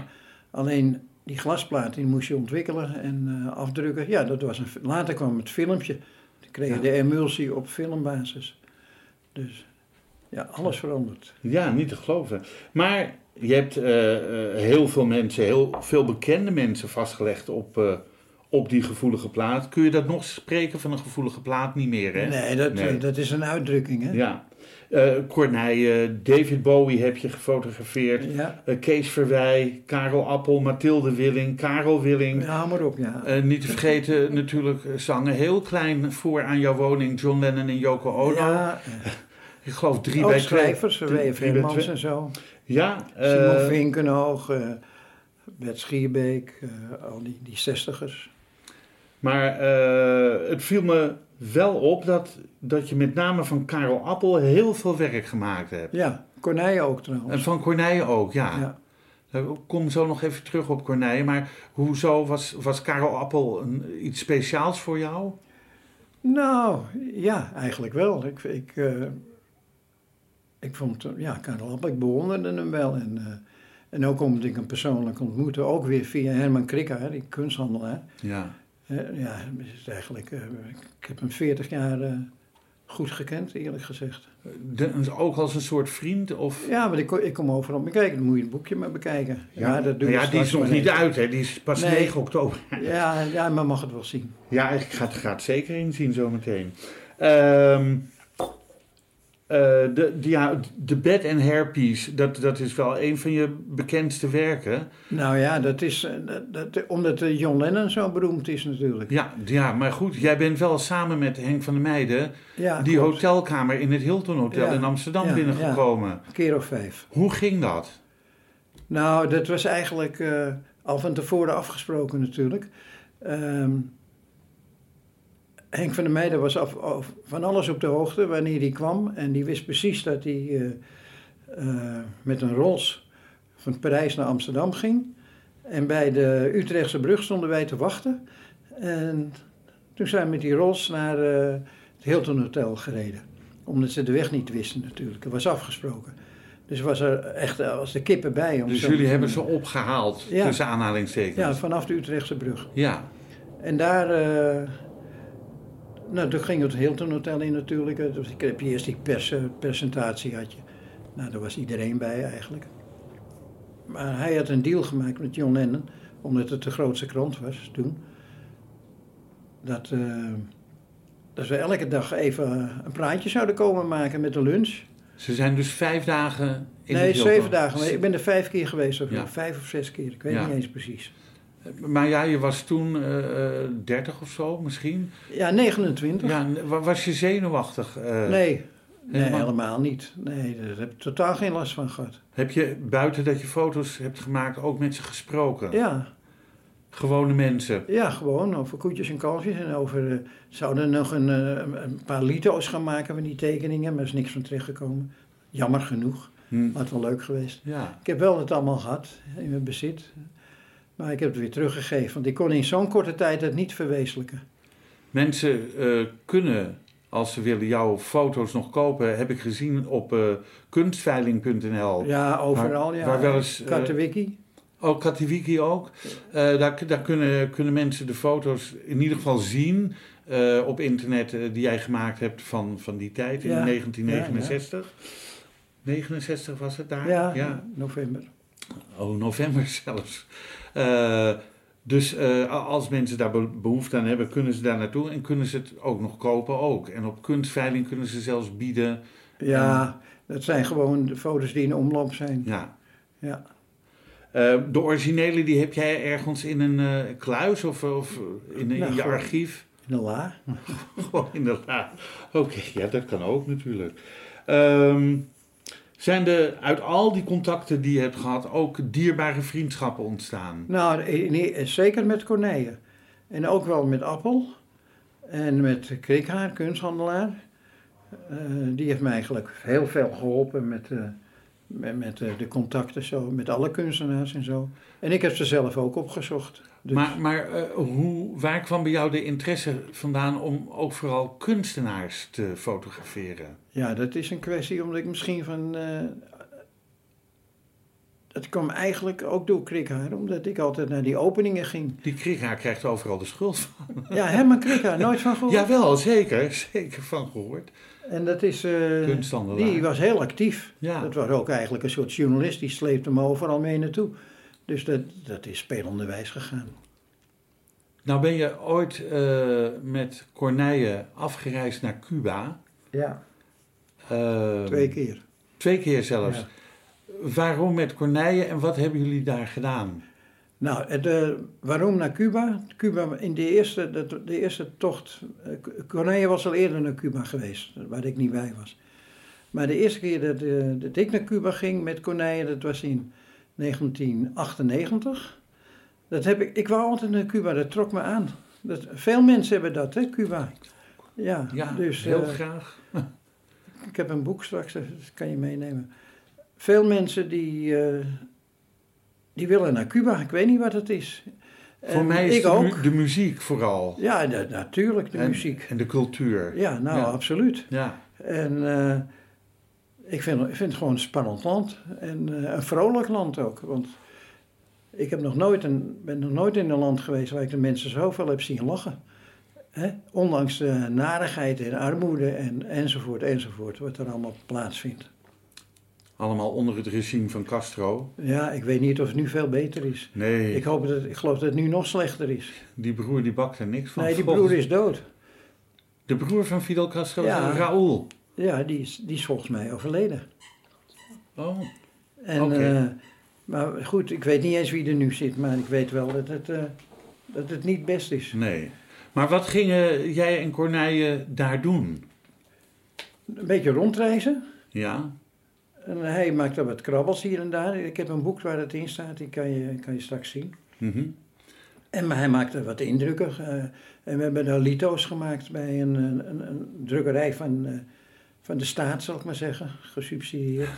[SPEAKER 3] Alleen die glasplaat die moest je ontwikkelen en eh, afdrukken. Ja, dat was een, fi- later kwam het filmpje. Dan kreeg je
[SPEAKER 2] Ja.
[SPEAKER 3] de emulsie op filmbasis. Dus ja, alles verandert.
[SPEAKER 2] Ja, niet te geloven. Maar je hebt eh, eh, heel veel mensen, heel veel bekende mensen vastgelegd op, eh, op die gevoelige plaat. Kun je dat nog spreken van een gevoelige plaat? Niet meer, hè?
[SPEAKER 3] Nee, dat,
[SPEAKER 2] Nee.
[SPEAKER 3] eh, dat is een uitdrukking, hè?
[SPEAKER 2] Ja. Eh Corneille, David Bowie heb je gefotografeerd.
[SPEAKER 3] Ja,
[SPEAKER 2] Eh, Kees Verwij, Karel Appel, Mathilde Willing, Karel Willing.
[SPEAKER 3] ja maar op, ja.
[SPEAKER 2] Eh, niet te vergeten natuurlijk eh, zangen heel klein voor aan jouw woning John Lennon en Yoko Ono.
[SPEAKER 3] ja, eh,
[SPEAKER 2] Ik geloof drie
[SPEAKER 3] ook
[SPEAKER 2] bij twee.
[SPEAKER 3] schrijvers,
[SPEAKER 2] drie-
[SPEAKER 3] W.F.
[SPEAKER 2] drie bij
[SPEAKER 3] Hermans
[SPEAKER 2] twee.
[SPEAKER 3] en zo.
[SPEAKER 2] Ja, eh,
[SPEAKER 3] Simon Vinkenhoog, eh, Bert Schierbeek, eh, al die, die zestigers.
[SPEAKER 2] Maar eh, het viel me wel op dat, dat je met name van Karel Appel heel veel werk gemaakt hebt.
[SPEAKER 3] Ja, Corneille ook trouwens.
[SPEAKER 2] En van Corneille ook, ja.
[SPEAKER 3] Ja.
[SPEAKER 2] Ik kom zo nog even terug op Corneille. Maar hoezo was, was Karel Appel een, iets speciaals voor jou?
[SPEAKER 3] Nou, ja, eigenlijk wel. Ik, ik, eh, ik vond, eh, ja, Karel Appel, ik bewonderde hem wel. En, eh, en ook omdat ik hem persoonlijk ontmoette, ook weer via Herman Krikker, die kunsthandelaar.
[SPEAKER 2] Ja.
[SPEAKER 3] Eh, ja, het is eigenlijk, eh, ik heb hem 40 jaar eh, goed gekend, eerlijk gezegd.
[SPEAKER 2] De- ook als een soort vriend? Of...
[SPEAKER 3] Ja, maar ik, kom- ik kom overal bekijken, dan moet je het boekje maar bekijken. Ja, dat doe
[SPEAKER 2] Nou
[SPEAKER 3] ik
[SPEAKER 2] ja die
[SPEAKER 3] straks
[SPEAKER 2] is nog
[SPEAKER 3] maar
[SPEAKER 2] niet
[SPEAKER 3] even.
[SPEAKER 2] uit, hè? die is pas
[SPEAKER 3] Nee.
[SPEAKER 2] 9 oktober.
[SPEAKER 3] Ja, ja, maar mag het wel zien.
[SPEAKER 2] Ja, ik ga het, ga het zeker inzien zometeen. Ehm eh, de, de, ja, de Bed and Hairpiece, dat, dat is wel een van je bekendste werken.
[SPEAKER 3] Nou ja, dat is eh, dat, dat- omdat eh, John Lennon zo beroemd is natuurlijk.
[SPEAKER 2] Ja, ja, maar goed, jij bent wel samen met Henk van der Meijden
[SPEAKER 3] Ja,
[SPEAKER 2] die
[SPEAKER 3] Ah, klopt.
[SPEAKER 2] hotelkamer in het Hilton Hotel
[SPEAKER 3] Ja,
[SPEAKER 2] in Amsterdam
[SPEAKER 3] ja,
[SPEAKER 2] binnengekomen.
[SPEAKER 3] Een keer of vijf.
[SPEAKER 2] Hoe ging dat?
[SPEAKER 3] Nou, dat was eigenlijk eh, al van tevoren afgesproken natuurlijk. Ehm, Henk van der Meijden was af, af- van alles op de hoogte wanneer hij kwam. En die wist precies dat hij eh, eh, met een rols van Parijs naar Amsterdam ging. En bij de Utrechtse brug stonden wij te wachten. En toen zijn we met die rols naar eh, het Hilton Hotel gereden. Omdat ze de weg niet wisten natuurlijk. Het was afgesproken. Dus was er echt eh, als de kippen bij. om
[SPEAKER 2] Dus
[SPEAKER 3] zo-
[SPEAKER 2] jullie hebben ze opgehaald,
[SPEAKER 3] Ja.
[SPEAKER 2] tussen aanhalingstekens.
[SPEAKER 3] Ja, vanaf de Utrechtse brug.
[SPEAKER 2] ja.
[SPEAKER 3] En daar. eh, nou, toen ging het Hilton Hotel in natuurlijk. Eh, Dus ik heb hier eerst die pers, eh, presentatie had je. Nou, daar was iedereen bij eigenlijk. Maar hij had een deal gemaakt met John Lennon, omdat het de grootste krant was toen. Dat, eh, dat we elke dag even eh, een praatje zouden komen maken met de lunch.
[SPEAKER 2] Ze zijn dus vijf dagen in het
[SPEAKER 3] nee,
[SPEAKER 2] Hilton.
[SPEAKER 3] zeven dagen. Maar ik ben er vijf keer geweest, of
[SPEAKER 2] Ja.
[SPEAKER 3] vijf of zes keer. Ik weet
[SPEAKER 2] Ja.
[SPEAKER 3] niet eens precies.
[SPEAKER 2] Maar ja, je was toen eh, dertig 30 of zo misschien.
[SPEAKER 3] Ja, 29.
[SPEAKER 2] Ja, n- wa- was je zenuwachtig? eh?
[SPEAKER 3] Nee, nee
[SPEAKER 2] helemaal-
[SPEAKER 3] helemaal? niet. Nee, daar heb ik totaal geen last van gehad.
[SPEAKER 2] Heb je buiten dat je foto's hebt gemaakt ook met ze gesproken?
[SPEAKER 3] Ja,
[SPEAKER 2] Gewone mensen.
[SPEAKER 3] ja gewoon over koetjes en kalfjes. En over, eh, zouden nog een, eh, een paar lito's gaan maken van die tekeningen. Maar er is niks van terechtgekomen. Jammer genoeg,
[SPEAKER 2] Hm.
[SPEAKER 3] maar het wel leuk geweest.
[SPEAKER 2] Ja.
[SPEAKER 3] Ik heb wel het allemaal gehad in mijn bezit. Maar ik heb het weer teruggegeven. Want ik kon in zo'n korte tijd het niet verwezenlijken.
[SPEAKER 2] Mensen eh, kunnen, als ze willen, jouw foto's nog kopen. Heb ik gezien op eh, kunstveiling.nl.
[SPEAKER 3] Ja, overal.
[SPEAKER 2] Waar-
[SPEAKER 3] ja.
[SPEAKER 2] waar wel eens, eh,
[SPEAKER 3] Katowiki.
[SPEAKER 2] Ook Katowiki Oh, ook. Eh, daar daar kunnen, kunnen mensen de foto's in ieder geval zien eh, op internet eh, die jij gemaakt hebt van, van die tijd in
[SPEAKER 3] Ja.
[SPEAKER 2] 1969. 69 was het daar?
[SPEAKER 3] ja, november.
[SPEAKER 2] Oh, november zelfs. Eh, dus eh, a- als mensen daar be- behoefte aan hebben, kunnen ze daar naartoe en kunnen ze het ook nog kopen ook. En op kunstveiling kunnen ze zelfs bieden.
[SPEAKER 3] Ja, dat zijn gewoon de foto's die in omloop zijn.
[SPEAKER 2] Ja.
[SPEAKER 3] Ja.
[SPEAKER 2] Eh, de originele die heb jij ergens in een eh, kluis of, of in, in
[SPEAKER 3] Nou,
[SPEAKER 2] je
[SPEAKER 3] gewoon-
[SPEAKER 2] archief?
[SPEAKER 3] In de la.
[SPEAKER 2] Gewoon in de la. Oké, ja, dat kan ook natuurlijk. Ehm, Zijn er uit al die contacten die je hebt gehad ook dierbare vriendschappen ontstaan?
[SPEAKER 3] Nou, eh, nee, zeker met Corneille. En ook wel met Appel. En met Krikhaar, kunsthandelaar. Eh, die heeft mij eigenlijk heel veel geholpen met, eh, met, met, eh, de contacten, zo, met alle kunstenaars en zo. En ik heb ze zelf ook opgezocht. Dus-
[SPEAKER 2] Maar, maar eh, hoe, waar kwam bij jou de interesse vandaan om ook vooral kunstenaars te fotograferen?
[SPEAKER 3] Ja, dat is een kwestie omdat ik misschien van. eh, dat kwam eigenlijk ook door Krikhaar, omdat ik altijd naar die openingen ging.
[SPEAKER 2] Die Kriga krijgt overal de schuld van.
[SPEAKER 3] Ja, Herman Krikhaar, nooit van gehoord.
[SPEAKER 2] Jawel, zeker. Zeker van gehoord.
[SPEAKER 3] En dat is. eh,
[SPEAKER 2] Kunsthandelaar.
[SPEAKER 3] die was heel actief.
[SPEAKER 2] Ja.
[SPEAKER 3] Dat was ook eigenlijk een soort journalist, die sleepte me overal mee naartoe. Dus dat, dat is spelenderwijs gegaan.
[SPEAKER 2] Nou ben je ooit eh, met Corneille afgereisd naar Cuba.
[SPEAKER 3] Ja.
[SPEAKER 2] Eh,
[SPEAKER 3] Twee keer.
[SPEAKER 2] Twee keer zelfs.
[SPEAKER 3] Ja.
[SPEAKER 2] Waarom met Corneille en wat hebben jullie daar gedaan?
[SPEAKER 3] Nou, het, eh, waarom naar Cuba? Cuba in de eerste, de, de eerste tocht. eh, Corneille was al eerder naar Cuba geweest, waar ik niet bij was. Maar de eerste keer dat, eh, dat ik naar Cuba ging met Corneille, dat was in 1998. Dat heb ik, ik wou altijd naar Cuba, dat trok me aan. Dat, veel mensen hebben dat, hè, Cuba. Ja,
[SPEAKER 2] Ja,
[SPEAKER 3] dus,
[SPEAKER 2] heel
[SPEAKER 3] eh,
[SPEAKER 2] graag.
[SPEAKER 3] ik heb een boek straks, dat kan je meenemen. Veel mensen die, eh, die willen naar Cuba. Ik weet niet wat het is.
[SPEAKER 2] Voor
[SPEAKER 3] En
[SPEAKER 2] mij is
[SPEAKER 3] ik
[SPEAKER 2] de, mu-
[SPEAKER 3] ook.
[SPEAKER 2] de muziek vooral.
[SPEAKER 3] Ja, na- natuurlijk, de
[SPEAKER 2] en,
[SPEAKER 3] muziek.
[SPEAKER 2] En de cultuur.
[SPEAKER 3] Ja, nou,
[SPEAKER 2] Ja.
[SPEAKER 3] absoluut.
[SPEAKER 2] Ja.
[SPEAKER 3] En eh, ik, vind, ik vind het gewoon een spannend land. En eh, een vrolijk land ook. Want ik heb nog nooit een, ben nog nooit in een land geweest waar ik de mensen zoveel heb zien lachen. Hè? Ondanks de narigheid en armoede en, enzovoort, enzovoort. Wat er allemaal plaatsvindt.
[SPEAKER 2] Allemaal onder het regime van Castro.
[SPEAKER 3] Ja, ik weet niet of het nu veel beter is.
[SPEAKER 2] Nee,
[SPEAKER 3] Ik, hoop dat, ik geloof dat het nu nog slechter is.
[SPEAKER 2] die broer die bakt er niks van.
[SPEAKER 3] nee, die
[SPEAKER 2] Volgens-
[SPEAKER 3] broer is dood.
[SPEAKER 2] De broer van Fidel Castro,
[SPEAKER 3] Ja.
[SPEAKER 2] Raoul.
[SPEAKER 3] Ja, die is, die is volgens mij overleden.
[SPEAKER 2] Oh.
[SPEAKER 3] En,
[SPEAKER 2] Oké.
[SPEAKER 3] eh, maar goed, ik weet niet eens wie er nu zit, maar ik weet wel dat het, eh, dat het niet best is.
[SPEAKER 2] Nee. Maar wat gingen jij en Corneille daar doen?
[SPEAKER 3] Een beetje rondreizen.
[SPEAKER 2] Ja?
[SPEAKER 3] En hij maakt dan wat krabbels hier en daar. Ik heb een boek waar het in staat, die kan je, kan je straks zien.
[SPEAKER 2] Mhm.
[SPEAKER 3] En maar hij maakte wat indrukken. eh, en we hebben daar lito's gemaakt bij een, een, een- een drukkerij van, eh, van de staat, zal ik maar zeggen. Gesubsidieerd.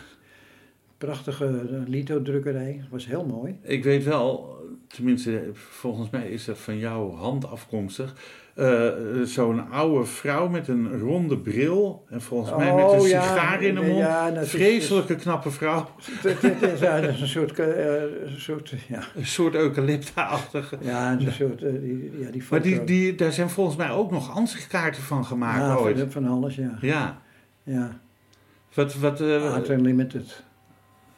[SPEAKER 3] Prachtige eh, lito-drukkerij. Was heel mooi.
[SPEAKER 2] Ik weet wel, tenminste, volgens mij is dat van jouw hand afkomstig. eh, zo'n oude vrouw met een ronde bril en volgens mij met een
[SPEAKER 3] Oh, ja.
[SPEAKER 2] sigaar in de mond.
[SPEAKER 3] Ja, dat is-
[SPEAKER 2] Vreselijke knappe vrouw.
[SPEAKER 3] Het- het is- ja, dat is een soort. eh, een soort ja,
[SPEAKER 2] Een soort eucalypta-achtige.
[SPEAKER 3] ja, een soort. eh, die, ja, die
[SPEAKER 2] Maar die,
[SPEAKER 3] foto.
[SPEAKER 2] die, daar zijn volgens mij ook nog ansichtkaarten van gemaakt
[SPEAKER 3] Ja,
[SPEAKER 2] ooit.
[SPEAKER 3] van, van alles, ja.
[SPEAKER 2] Ja.
[SPEAKER 3] ja.
[SPEAKER 2] Wat, wat, eh,
[SPEAKER 3] Art Unlimited.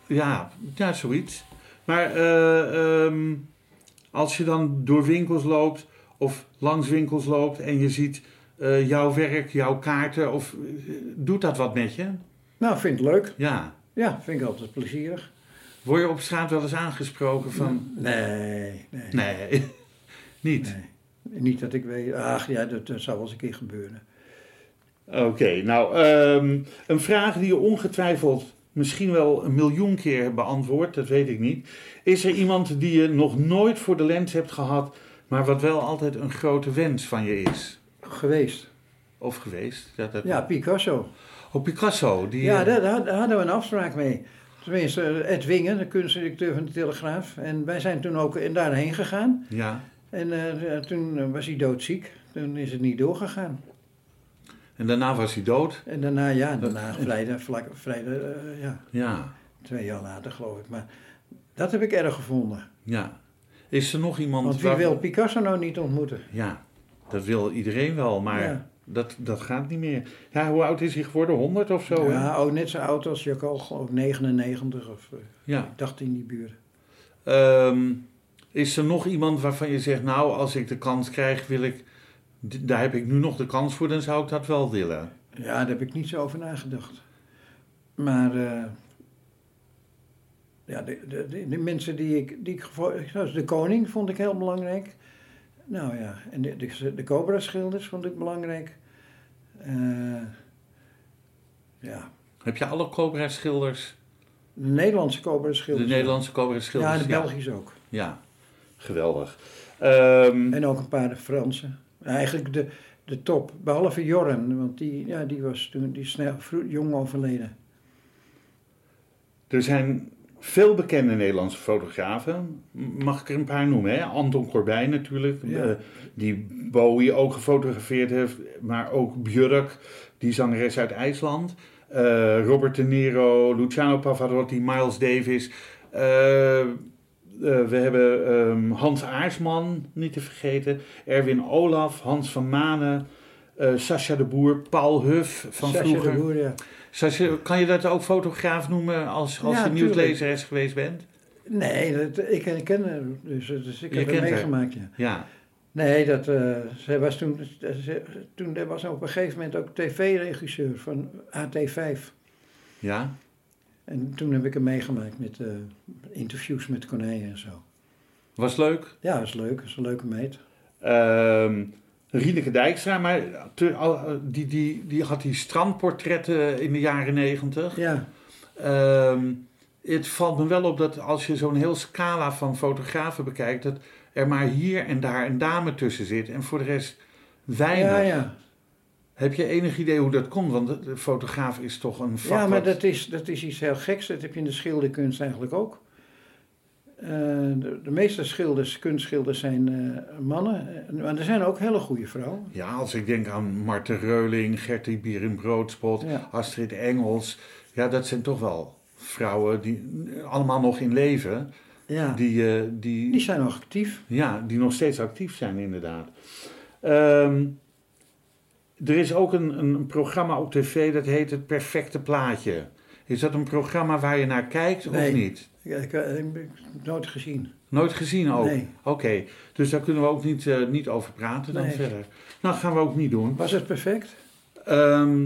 [SPEAKER 2] Ja, ja, zoiets. Maar eh, ehm, als je dan door winkels loopt of langs winkels loopt en je ziet eh, jouw werk, jouw kaarten, of eh, doet dat wat met je?
[SPEAKER 3] Nou, vind ik leuk.
[SPEAKER 2] Ja.
[SPEAKER 3] Ja, vind ik altijd plezierig.
[SPEAKER 2] Word je op straat wel eens aangesproken van.
[SPEAKER 3] Nee, nee.
[SPEAKER 2] Nee, niet.
[SPEAKER 3] Nee. Niet dat ik weet. Ach ja, dat, dat zou wel eens een keer gebeuren.
[SPEAKER 2] Oké, nou, ehm, een vraag die je ongetwijfeld misschien wel een miljoen keer beantwoordt, dat weet ik niet. Is er iemand die je nog nooit voor de lens hebt gehad, maar wat wel altijd een grote wens van je is?
[SPEAKER 3] Geweest.
[SPEAKER 2] Of geweest? Ja, dat...
[SPEAKER 3] Ja, Picasso.
[SPEAKER 2] Oh, Picasso. Die,
[SPEAKER 3] Ja,
[SPEAKER 2] eh,
[SPEAKER 3] daar, daar- daar hadden we een afspraak mee. Tenminste, eh, Ed Wingen, de kunstdirecteur van de Telegraaf. En wij zijn toen ook eh, daarheen gegaan.
[SPEAKER 2] ja.
[SPEAKER 3] En eh, eh, toen eh, was hij doodziek. Toen is het niet doorgegaan.
[SPEAKER 2] En daarna was hij dood.
[SPEAKER 3] En daarna, ja, daarna vrijdag, vlak, vrijdag eh, ja,
[SPEAKER 2] Ja,
[SPEAKER 3] twee jaar later geloof ik. Maar dat heb ik erg gevonden.
[SPEAKER 2] ja. Is er nog iemand...
[SPEAKER 3] Want wie
[SPEAKER 2] waar-
[SPEAKER 3] wil Picasso nou niet ontmoeten?
[SPEAKER 2] Ja, dat wil iedereen wel, maar
[SPEAKER 3] Ja.
[SPEAKER 2] dat, dat gaat niet meer. Ja, hoe oud is hij geworden? 100 of zo? hè?
[SPEAKER 3] ja, ook net zo oud als Jaco, geloof ik, 99 of eh,
[SPEAKER 2] ja.
[SPEAKER 3] ik dacht in die buurt.
[SPEAKER 2] Ehm, is er nog iemand waarvan je zegt, nou, als ik de kans krijg, wil ik, d- daar heb ik nu nog de kans voor, dan zou ik dat wel willen.
[SPEAKER 3] Ja, daar heb ik niet zo over nagedacht. Maar eh, ja, de, de, de, de mensen die ik, die ik gevo- zoals de koning vond ik heel belangrijk. Nou ja, en de, de, de cobra schilders vond ik belangrijk. Eh, ja,
[SPEAKER 2] Heb je alle Cobra-schilders?
[SPEAKER 3] De Nederlandse koper
[SPEAKER 2] De
[SPEAKER 3] schilders.
[SPEAKER 2] Nederlandse Cobra-schilders?
[SPEAKER 3] Ja, de Belgische ook.
[SPEAKER 2] Ja, geweldig. Ehm,
[SPEAKER 3] En ook een paar Fransen. Eigenlijk de, de top, behalve Jorren, want die, ja, die was toen die is snel, vro- jong overleden.
[SPEAKER 2] er zijn veel bekende Nederlandse fotografen. M- Mag ik er een paar noemen? Hè? Anton Corbijn natuurlijk,
[SPEAKER 3] Ja.
[SPEAKER 2] eh, die Bowie ook gefotografeerd heeft. Maar ook Björk, die zangeres uit IJsland. Eh, Robert De Niro, Luciano Pavarotti, Miles Davis. Eh, eh, we hebben ehm, Hans Aarsman, niet te vergeten. Erwin Olaf, Hans van Manen. eh Sascha de Boer, Paul Huff van
[SPEAKER 3] Sacha de
[SPEAKER 2] vroeger.
[SPEAKER 3] Boer, ja.
[SPEAKER 2] Sasje, kan je dat ook fotograaf noemen als, als
[SPEAKER 3] Ja,
[SPEAKER 2] je
[SPEAKER 3] tuurlijk.
[SPEAKER 2] nieuwslezeres geweest bent?
[SPEAKER 3] Nee, dat, ik, ik ken haar, dus, dus ik
[SPEAKER 2] Je
[SPEAKER 3] heb
[SPEAKER 2] kent
[SPEAKER 3] hem
[SPEAKER 2] haar.
[SPEAKER 3] meegemaakt, ja.
[SPEAKER 2] Ja,
[SPEAKER 3] Nee, dat, eh, zij was toen, ze- toen er was op een gegeven moment ook tv-regisseur van AT5.
[SPEAKER 2] ja.
[SPEAKER 3] En toen heb ik hem meegemaakt met eh, interviews met konijnen en zo.
[SPEAKER 2] Was leuk.
[SPEAKER 3] Ja, dat is leuk, dat is een leuke meet.
[SPEAKER 2] Ehm Rieneke Dijkstra, maar te- al- die, die, die had die strandportretten in de jaren negentig.
[SPEAKER 3] Ja,
[SPEAKER 2] Ehm, het valt me wel op dat als je zo'n heel scala van fotografen bekijkt, dat er maar hier en daar een dame tussen zit en voor de rest weinig.
[SPEAKER 3] ja, ja.
[SPEAKER 2] Heb je enig idee hoe dat komt? Want de- de fotograaf is toch een vak
[SPEAKER 3] Ja, maar
[SPEAKER 2] wat-
[SPEAKER 3] dat is, dat is iets heel geks. Dat heb je in de schilderkunst eigenlijk ook. Eh, de, de meeste schilders, kunstschilders zijn eh, mannen. Eh, Maar er zijn ook hele goede vrouwen.
[SPEAKER 2] Ja, als ik denk aan Marten Reuling, Gertie Bierenbroodspot,
[SPEAKER 3] Ja.
[SPEAKER 2] Astrid Engels. Ja, dat zijn toch wel vrouwen die eh, allemaal nog in leven.
[SPEAKER 3] Ja, die,
[SPEAKER 2] Die, eh, die,
[SPEAKER 3] zijn nog actief.
[SPEAKER 2] ja, die nog steeds actief zijn, inderdaad. Ehm, er is ook een, een programma op tv dat heet Het Perfecte Plaatje. Is dat een programma waar je naar kijkt
[SPEAKER 3] Nee.
[SPEAKER 2] of niet?
[SPEAKER 3] Ik, ik, ik heb het nooit gezien.
[SPEAKER 2] Nooit gezien ook?
[SPEAKER 3] Nee.
[SPEAKER 2] Oké, dus daar kunnen we ook niet, eh, niet over praten dan
[SPEAKER 3] Nee.
[SPEAKER 2] verder. Nou, dat gaan we ook niet doen.
[SPEAKER 3] Was het perfect?
[SPEAKER 2] Ehm,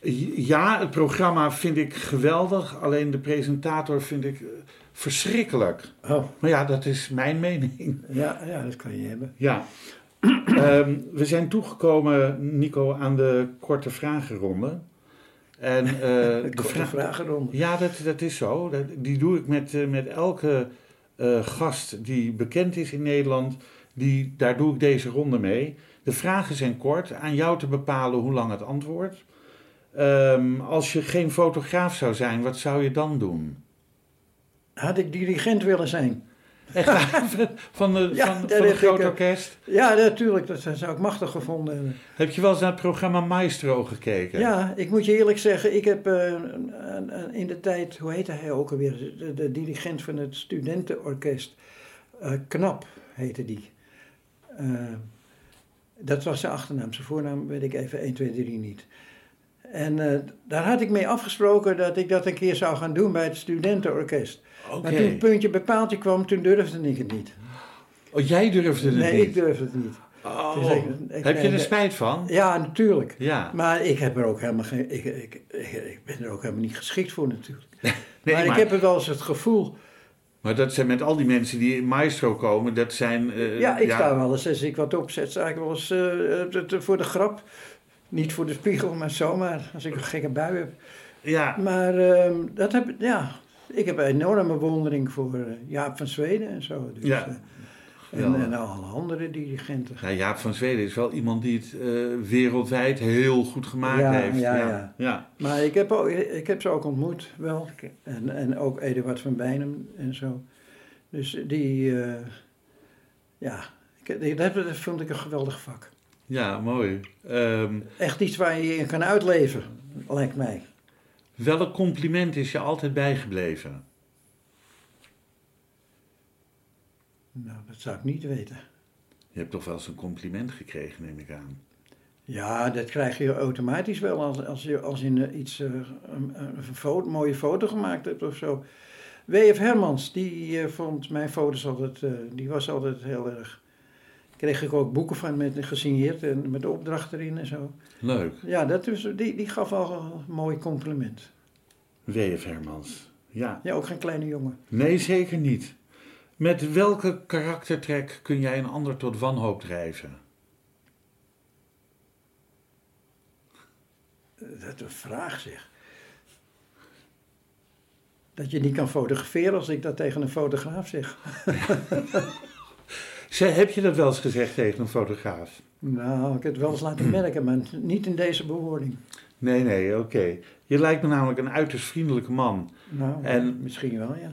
[SPEAKER 2] j- ja, het programma vind ik geweldig. Alleen de presentator vind ik eh, verschrikkelijk.
[SPEAKER 3] Oh,
[SPEAKER 2] Maar ja, dat is mijn mening.
[SPEAKER 3] ja, ja, dat kan je hebben.
[SPEAKER 2] Ja. Ehm, we zijn toegekomen, Nico, aan de korte vragenronde. En, eh,
[SPEAKER 3] Ik
[SPEAKER 2] de
[SPEAKER 3] kom
[SPEAKER 2] vra-
[SPEAKER 3] de vragen rond.
[SPEAKER 2] Ja, dat, dat is zo. Dat, die doe ik met, eh, met elke eh, gast die bekend is in Nederland. Die, daar doe ik deze ronde mee. De vragen zijn kort. Aan jou te bepalen hoe lang het antwoord. Ehm, als je geen fotograaf zou zijn, wat zou je dan doen?
[SPEAKER 3] Had ik dirigent willen zijn?
[SPEAKER 2] Echt waar? van de,
[SPEAKER 3] Ja,
[SPEAKER 2] van,
[SPEAKER 3] dat
[SPEAKER 2] van een
[SPEAKER 3] heb
[SPEAKER 2] groot
[SPEAKER 3] ik, eh.
[SPEAKER 2] orkest.
[SPEAKER 3] Ja, natuurlijk. Dat zou ik machtig gevonden hebben.
[SPEAKER 2] Heb je wel eens naar het programma Maestro gekeken?
[SPEAKER 3] Ja, ik moet je eerlijk zeggen, ik heb eh, een- een- een- in de tijd, hoe heette hij ook alweer, de, de dirigent van het studentenorkest, eh, Knap heette die. Eh, dat was zijn achternaam, zijn voornaam weet ik even 1, 2, 3 niet. En eh, daar had ik mee afgesproken dat ik dat een keer zou gaan doen bij het studentenorkest.
[SPEAKER 2] Oké.
[SPEAKER 3] Maar toen het puntje bij paaltje kwam, toen durfde ik het niet.
[SPEAKER 2] Oh, jij durfde het
[SPEAKER 3] nee,
[SPEAKER 2] niet?
[SPEAKER 3] ik durfde het niet.
[SPEAKER 2] Oh.
[SPEAKER 3] Dus ik- ik-
[SPEAKER 2] heb je er
[SPEAKER 3] nee.
[SPEAKER 2] spijt van?
[SPEAKER 3] Ja, natuurlijk.
[SPEAKER 2] Ja.
[SPEAKER 3] Maar ik heb er ook helemaal geen. Ik, ik, ik, ik ben er ook helemaal niet geschikt voor natuurlijk.
[SPEAKER 2] Nee, maar-
[SPEAKER 3] maar, ik heb het wel eens het gevoel.
[SPEAKER 2] Maar dat zijn met al die mensen die in Maestro komen, dat zijn... eh,
[SPEAKER 3] ja, ik sta wel eens als ik wat opzet, sta ik wel eens eh, eh, t- t- voor de grap. Niet voor de spiegel, maar zomaar als ik een gekke bui heb.
[SPEAKER 2] Ja,
[SPEAKER 3] Maar ehm, dat heb ja, ik heb een enorme bewondering voor eh, Jaap van Zweden en zo. Dus,
[SPEAKER 2] Ja.
[SPEAKER 3] eh, en,
[SPEAKER 2] Geweldig.
[SPEAKER 3] en alle andere dirigenten.
[SPEAKER 2] Nou, Jaap van Zweden is wel iemand die het eh, wereldwijd heel goed gemaakt
[SPEAKER 3] Ja,
[SPEAKER 2] heeft.
[SPEAKER 3] ja,
[SPEAKER 2] ja.
[SPEAKER 3] ja.
[SPEAKER 2] ja.
[SPEAKER 3] Maar ik heb, ook, ik heb ze ook ontmoet, wel. En, en ook Eduard van Bijnem en zo. Dus die, eh, ja, ik, die- dat, dat vond ik een geweldig vak.
[SPEAKER 2] Ja, mooi. Ehm,
[SPEAKER 3] Echt iets waar je je in kan uitleven, lijkt mij.
[SPEAKER 2] welk compliment is je altijd bijgebleven?
[SPEAKER 3] Nou, dat zou ik niet weten.
[SPEAKER 2] Je hebt toch wel eens een compliment gekregen, neem ik aan.
[SPEAKER 3] Ja, dat krijg je automatisch wel als, als je, als je een- iets, eh, een, een fo- mooie foto gemaakt hebt of zo. W.F. Hermans, die eh, vond mijn foto's altijd, eh, die was altijd heel erg... Kreeg ik ook boeken van met gesigneerd en met de opdracht erin en zo.
[SPEAKER 2] Leuk.
[SPEAKER 3] Ja, dat is, die, die gaf al een mooi compliment.
[SPEAKER 2] W.F. Hermans. Ja.
[SPEAKER 3] Ja, ook geen kleine jongen.
[SPEAKER 2] Nee, zeker niet. Met welke karaktertrek kun jij een ander tot wanhoop drijven?
[SPEAKER 3] Eh, Dat is een vraag zeg. dat je niet kan fotograferen als ik dat tegen een fotograaf zeg.
[SPEAKER 2] Zij, heb je dat wel eens gezegd tegen een fotograaf?
[SPEAKER 3] Nou, ik heb het wel eens laten merken, maar niet in deze bewoording.
[SPEAKER 2] Nee, nee, oké. Je lijkt me namelijk een uiterst vriendelijke man.
[SPEAKER 3] Nou,
[SPEAKER 2] En-
[SPEAKER 3] misschien wel, ja.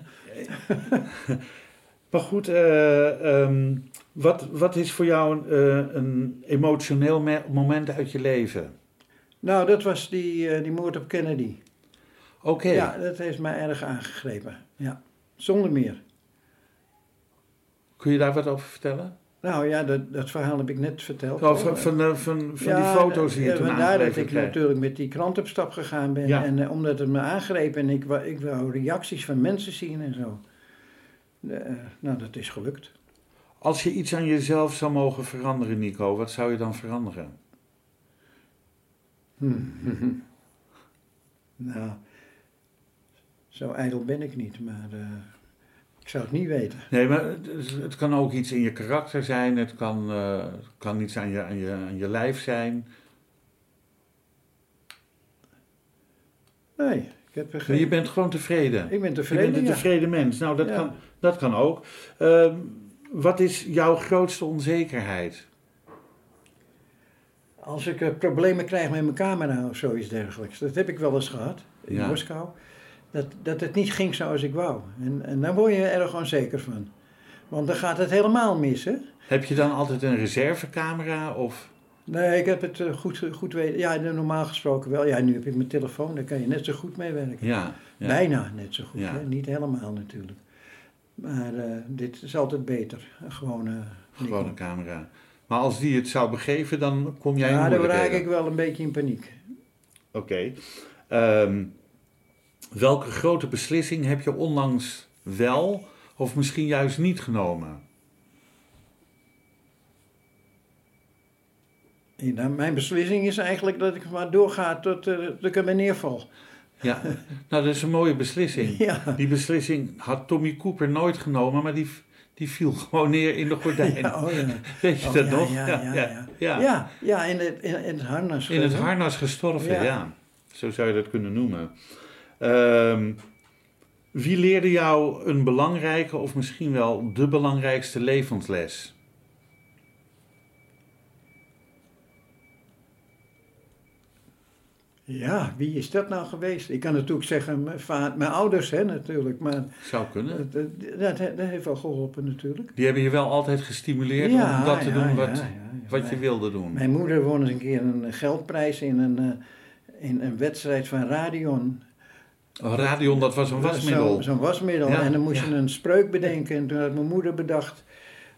[SPEAKER 2] Maar goed, eh, ehm, wat, wat is voor jou een, eh, een emotioneel me- moment uit je leven?
[SPEAKER 3] Nou, dat was die, eh, die moord op Kennedy.
[SPEAKER 2] Oké,
[SPEAKER 3] Ja, dat heeft mij erg aangegrepen. Ja, zonder meer.
[SPEAKER 2] kun je daar wat over vertellen?
[SPEAKER 3] Nou ja, dat, dat verhaal heb ik net verteld.
[SPEAKER 2] Oh, van van, eh, van, van
[SPEAKER 3] Ja,
[SPEAKER 2] die foto's die je
[SPEAKER 3] eh,
[SPEAKER 2] toen
[SPEAKER 3] vandaar dat
[SPEAKER 2] aangeleverd
[SPEAKER 3] ik
[SPEAKER 2] kreeg.
[SPEAKER 3] natuurlijk met die krant op stap gegaan ben.
[SPEAKER 2] Ja.
[SPEAKER 3] En eh, omdat het me aangreep en ik, wou- ik wou reacties van mensen zien en zo. Eh, nou, dat is gelukt.
[SPEAKER 2] Als je iets aan jezelf zou mogen veranderen, Nico, wat zou je dan veranderen?
[SPEAKER 3] Hmm. nou, zo ijdel ben ik niet, maar eh, ik zou het niet weten.
[SPEAKER 2] Nee, maar het, het kan ook iets in je karakter zijn, het kan, eh, het kan iets aan je, aan, je, aan je lijf zijn.
[SPEAKER 3] Nee, ik heb er
[SPEAKER 2] Maar
[SPEAKER 3] geen...
[SPEAKER 2] je bent gewoon tevreden.
[SPEAKER 3] Ik ben
[SPEAKER 2] Je bent
[SPEAKER 3] tevreden,
[SPEAKER 2] een
[SPEAKER 3] ja.
[SPEAKER 2] tevreden mens. Nou, dat,
[SPEAKER 3] Ja.
[SPEAKER 2] kan, dat kan ook. Ehm, wat is jouw grootste onzekerheid?
[SPEAKER 3] Als ik eh, problemen krijg met mijn camera of zoiets dergelijks. Dat heb ik wel eens gehad in
[SPEAKER 2] Ja.
[SPEAKER 3] Moskou. Dat, dat het niet ging zoals ik wou. En, en daar word je erg onzeker van. Want dan gaat het helemaal mis, hè?
[SPEAKER 2] Heb je dan altijd een reservecamera? Of...
[SPEAKER 3] Nee, ik heb het eh, goed, goed weten. Ja, normaal gesproken wel. Ja, nu heb ik mijn telefoon, daar kan je net zo goed mee werken.
[SPEAKER 2] Ja, ja.
[SPEAKER 3] Bijna net zo goed,
[SPEAKER 2] Ja.
[SPEAKER 3] hè? Niet helemaal natuurlijk. Maar eh, dit is altijd beter. Gewoon... eh,
[SPEAKER 2] gewoon een camera. Maar als die het zou begeven, dan kom jij in
[SPEAKER 3] ja, Nou, dan
[SPEAKER 2] moeilijkheden.
[SPEAKER 3] raak ik wel een beetje in paniek.
[SPEAKER 2] Oké. Ehm, welke grote beslissing heb je onlangs wel of misschien juist niet genomen?
[SPEAKER 3] Ja, nou, mijn beslissing is eigenlijk dat ik maar doorga tot, eh, tot ik ermee neerval.
[SPEAKER 2] Ja, nou dat is een mooie beslissing.
[SPEAKER 3] Ja,
[SPEAKER 2] Die beslissing had Tommy Cooper nooit genomen, maar die, die viel gewoon neer in de gordijn.
[SPEAKER 3] ja, oh ja.
[SPEAKER 2] Weet je
[SPEAKER 3] Oh,
[SPEAKER 2] dat
[SPEAKER 3] ja,
[SPEAKER 2] nog?
[SPEAKER 3] Ja, ja, ja.
[SPEAKER 2] ja.
[SPEAKER 3] Ja, ja, in, het, in, in het harnas.
[SPEAKER 2] In het
[SPEAKER 3] schudden.
[SPEAKER 2] harnas gestorven, ja.
[SPEAKER 3] Ja.
[SPEAKER 2] Zo zou je dat kunnen noemen. Ehm, wie leerde jou een belangrijke of misschien wel de belangrijkste levensles?
[SPEAKER 3] Ja, wie is dat nou geweest? Ik kan natuurlijk zeggen, mijn, va- mijn ouders hè, natuurlijk. Maar
[SPEAKER 2] Zou kunnen.
[SPEAKER 3] dat, dat, dat, dat heeft wel geholpen natuurlijk.
[SPEAKER 2] Die hebben je wel altijd gestimuleerd om dat te
[SPEAKER 3] ja,
[SPEAKER 2] doen
[SPEAKER 3] ja,
[SPEAKER 2] wat,
[SPEAKER 3] ja, ja.
[SPEAKER 2] wat je
[SPEAKER 3] Mijn-
[SPEAKER 2] wilde doen.
[SPEAKER 3] Mijn moeder won eens een keer een eh, geldprijs in een, eh, in een wedstrijd van Radion.
[SPEAKER 2] Oh, Radion, dat was een wasmiddel.
[SPEAKER 3] Zo- Zo'n wasmiddel.
[SPEAKER 2] Ja,
[SPEAKER 3] en dan moest
[SPEAKER 2] ja.
[SPEAKER 3] je een spreuk bedenken. En toen had mijn moeder bedacht...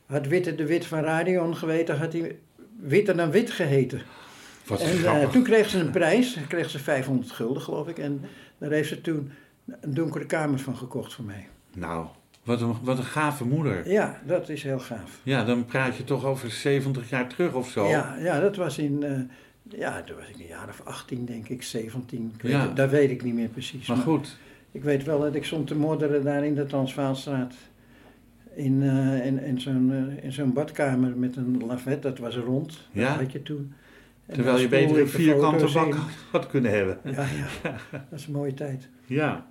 [SPEAKER 3] Had Witte de Wit van Radion geweten, had hij Witter dan Wit geheten.
[SPEAKER 2] Wat
[SPEAKER 3] en eh,
[SPEAKER 2] grappig.
[SPEAKER 3] toen kreeg ze een prijs. Kreeg ze 500 gulden, geloof ik. En daar heeft ze toen een donkere kamer van gekocht voor mij.
[SPEAKER 2] Nou, wat een, wat een gave moeder.
[SPEAKER 3] Ja, dat is heel gaaf.
[SPEAKER 2] Ja, dan praat je toch over 70 jaar terug of zo.
[SPEAKER 3] Ja, ja, dat was in... eh, ja, toen was ik een jaar of 18, denk ik, 17. Ik weet
[SPEAKER 2] Ja.
[SPEAKER 3] het- dat weet ik niet meer precies.
[SPEAKER 2] Maar
[SPEAKER 3] maar-
[SPEAKER 2] goed,
[SPEAKER 3] Ik weet wel dat ik stond te modderen daar in de Transvaalstraat. In, eh, in, in zo'n eh, in zo'n badkamer met een lavet, dat was rond. Dat
[SPEAKER 2] Ja.
[SPEAKER 3] had je toen. En
[SPEAKER 2] terwijl
[SPEAKER 3] daar
[SPEAKER 2] je
[SPEAKER 3] spoelde
[SPEAKER 2] beter een
[SPEAKER 3] ik de
[SPEAKER 2] vierkante
[SPEAKER 3] foto's
[SPEAKER 2] bak
[SPEAKER 3] in.
[SPEAKER 2] had kunnen hebben.
[SPEAKER 3] Ja, ja, dat is een mooie tijd.
[SPEAKER 2] Ja.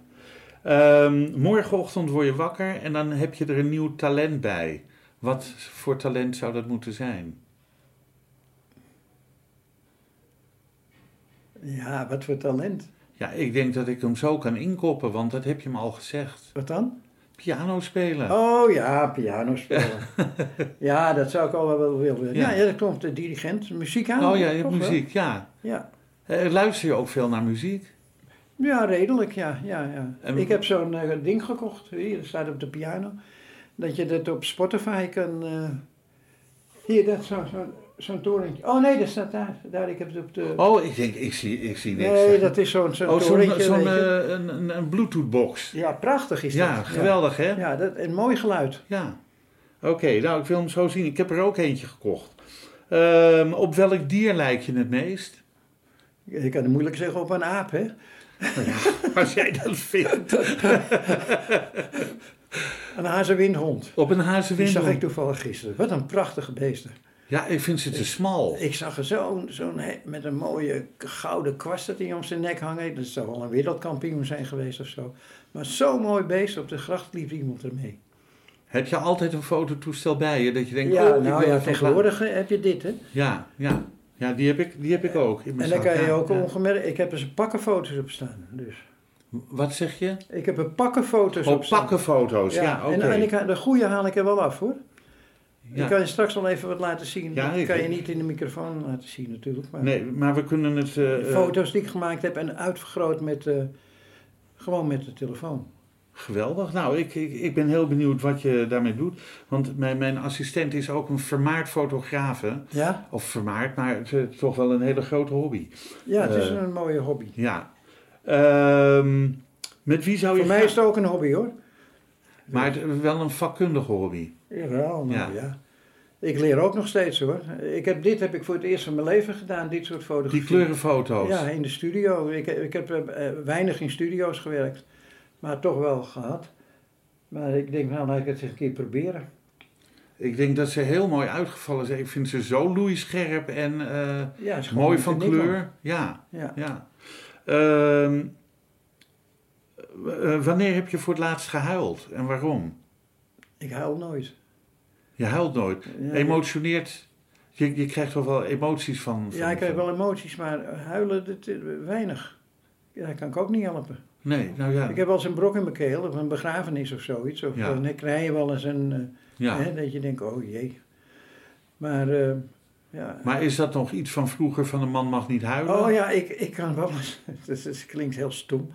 [SPEAKER 2] Ehm, morgenochtend word je wakker en dan heb je er een nieuw talent bij. Wat voor talent zou dat moeten zijn?
[SPEAKER 3] Ja, wat voor talent.
[SPEAKER 2] Ja, ik denk dat ik hem zo kan inkoppen, want dat heb je me al gezegd.
[SPEAKER 3] Wat dan?
[SPEAKER 2] Piano spelen.
[SPEAKER 3] Oh ja, piano spelen. ja, dat zou ik al wel willen.
[SPEAKER 2] Ja.
[SPEAKER 3] Ja, ja, dat komt de dirigent, muziek aan.
[SPEAKER 2] Oh ja, je hebt
[SPEAKER 3] toch wel?
[SPEAKER 2] muziek, ja.
[SPEAKER 3] Ja.
[SPEAKER 2] Eh, luister je ook veel naar muziek?
[SPEAKER 3] Ja, redelijk, ja. ja, ja.
[SPEAKER 2] En-
[SPEAKER 3] Ik heb zo'n eh, ding gekocht, hier dat staat op de piano, dat je dat op Spotify kan... eh, Hier, dat zo- zo'n zo'n torentje. Oh nee, dat staat daar. daar ik heb het op de...
[SPEAKER 2] Oh, ik denk, ik zie, ik zie niks.
[SPEAKER 3] nee, dat is zo'n zo'n
[SPEAKER 2] oh, zo'n
[SPEAKER 3] torentje.
[SPEAKER 2] zo'n,
[SPEAKER 3] weet je.
[SPEAKER 2] eh, een, een, een Bluetooth-box.
[SPEAKER 3] Ja, prachtig is
[SPEAKER 2] Ja,
[SPEAKER 3] dat.
[SPEAKER 2] geweldig hè?
[SPEAKER 3] Ja, ja dat, een mooi geluid.
[SPEAKER 2] Ja. Oké, nou ik wil hem zo zien. Ik heb er ook eentje gekocht. Ehm, op welk dier lijk je het meest?
[SPEAKER 3] Je kan het moeilijk zeggen op een aap, hè?
[SPEAKER 2] Als jij dat vindt.
[SPEAKER 3] Een hazewindhond.
[SPEAKER 2] Op een
[SPEAKER 3] Die
[SPEAKER 2] hazewindel.
[SPEAKER 3] zag ik toevallig gisteren. Wat een prachtige beesten.
[SPEAKER 2] Ja, ik vind ze te smal.
[SPEAKER 3] Ik zag er zo'n, zo'n he- met een mooie k- gouden kwast dat hij om zijn nek hangt. Dat zou wel een wereldkampioen zijn geweest of zo. Maar zo'n mooi beest, op de gracht liep iemand ermee.
[SPEAKER 2] Heb je altijd een fototoestel bij je dat je denkt,
[SPEAKER 3] ja,
[SPEAKER 2] oh, ik
[SPEAKER 3] nou
[SPEAKER 2] wil
[SPEAKER 3] ja,
[SPEAKER 2] het nog
[SPEAKER 3] tegenwoordig heb je dit, hè.
[SPEAKER 2] laten- Ja, ja, ja, die heb ik, die heb ik ook. in mijn
[SPEAKER 3] En dan
[SPEAKER 2] zak,
[SPEAKER 3] kan je
[SPEAKER 2] ja,
[SPEAKER 3] ook
[SPEAKER 2] ja.
[SPEAKER 3] ongemerkt... Ik heb er zijn pakkenfoto's op staan, dus.
[SPEAKER 2] Wat zeg je?
[SPEAKER 3] Ik heb er pakkenfoto's Dus op
[SPEAKER 2] Oh,
[SPEAKER 3] staan.
[SPEAKER 2] pakkenfoto's. Ja, oké.
[SPEAKER 3] en, en ik, ha- de goede haal ik er wel af, hoor.
[SPEAKER 2] Ja.
[SPEAKER 3] Ik kan je straks al even wat laten zien.
[SPEAKER 2] Ja,
[SPEAKER 3] dat
[SPEAKER 2] ik-
[SPEAKER 3] kan je niet in de microfoon laten zien, natuurlijk. Maar
[SPEAKER 2] Nee, maar we kunnen het... eh,
[SPEAKER 3] de
[SPEAKER 2] eh,
[SPEAKER 3] foto's die ik gemaakt heb en uitvergroot met... eh, gewoon met de telefoon.
[SPEAKER 2] Geweldig. Nou, ik, ik, ik ben heel benieuwd wat je daarmee doet. Want mijn, mijn assistent is ook een vermaard fotograaf. hè.
[SPEAKER 3] Ja,
[SPEAKER 2] Of vermaard, maar het is toch wel een hele grote hobby.
[SPEAKER 3] ja het is
[SPEAKER 2] Eh,
[SPEAKER 3] een mooie hobby.
[SPEAKER 2] Ja. Ehm, met wie zou je...
[SPEAKER 3] Voor mij
[SPEAKER 2] graag-
[SPEAKER 3] is het ook een hobby hoor.
[SPEAKER 2] Maar het- wel een vakkundige hobby.
[SPEAKER 3] Jawel, nou
[SPEAKER 2] Ja.
[SPEAKER 3] ja. Ik leer ook nog steeds hoor. Ik heb, dit heb ik voor het eerst van mijn leven gedaan, dit soort fotografie.
[SPEAKER 2] Die kleurenfoto's.
[SPEAKER 3] Ja, in de studio. Ik, ik heb eh, weinig in studio's gewerkt, maar toch wel gehad. Maar ik denk, nou laat ik het eens een keer proberen.
[SPEAKER 2] Ik denk dat ze heel mooi uitgevallen zijn. Ik vind ze zo loeischerp en eh,
[SPEAKER 3] Ja, is gewoon
[SPEAKER 2] mooi
[SPEAKER 3] niet
[SPEAKER 2] van
[SPEAKER 3] te nikken.
[SPEAKER 2] kleur. Ja,
[SPEAKER 3] Ja.
[SPEAKER 2] ja. Ehm, eh, wanneer heb je voor het laatst gehuild en waarom?
[SPEAKER 3] Ik huil nooit.
[SPEAKER 2] Je huilt nooit.
[SPEAKER 3] Ja,
[SPEAKER 2] Emotioneert. Je, je krijgt toch wel emoties van.
[SPEAKER 3] ja,
[SPEAKER 2] van-
[SPEAKER 3] ik krijg
[SPEAKER 2] van-
[SPEAKER 3] wel emoties, maar huilen, dat, eh, weinig. Ja, dat kan ik ook niet helpen.
[SPEAKER 2] Nee, nou ja.
[SPEAKER 3] Ik heb wel eens een brok in mijn keel, of een begrafenis of zoiets. Of eh,
[SPEAKER 2] Ja.
[SPEAKER 3] dan krijg je wel eens een. eh,
[SPEAKER 2] ja.
[SPEAKER 3] hè, dat je denkt, oh jee. Maar, eh, ja.
[SPEAKER 2] Maar is dat nog iets van vroeger van een man mag niet huilen?
[SPEAKER 3] Oh ja, ik, ik kan wel eens. Het klinkt heel stom.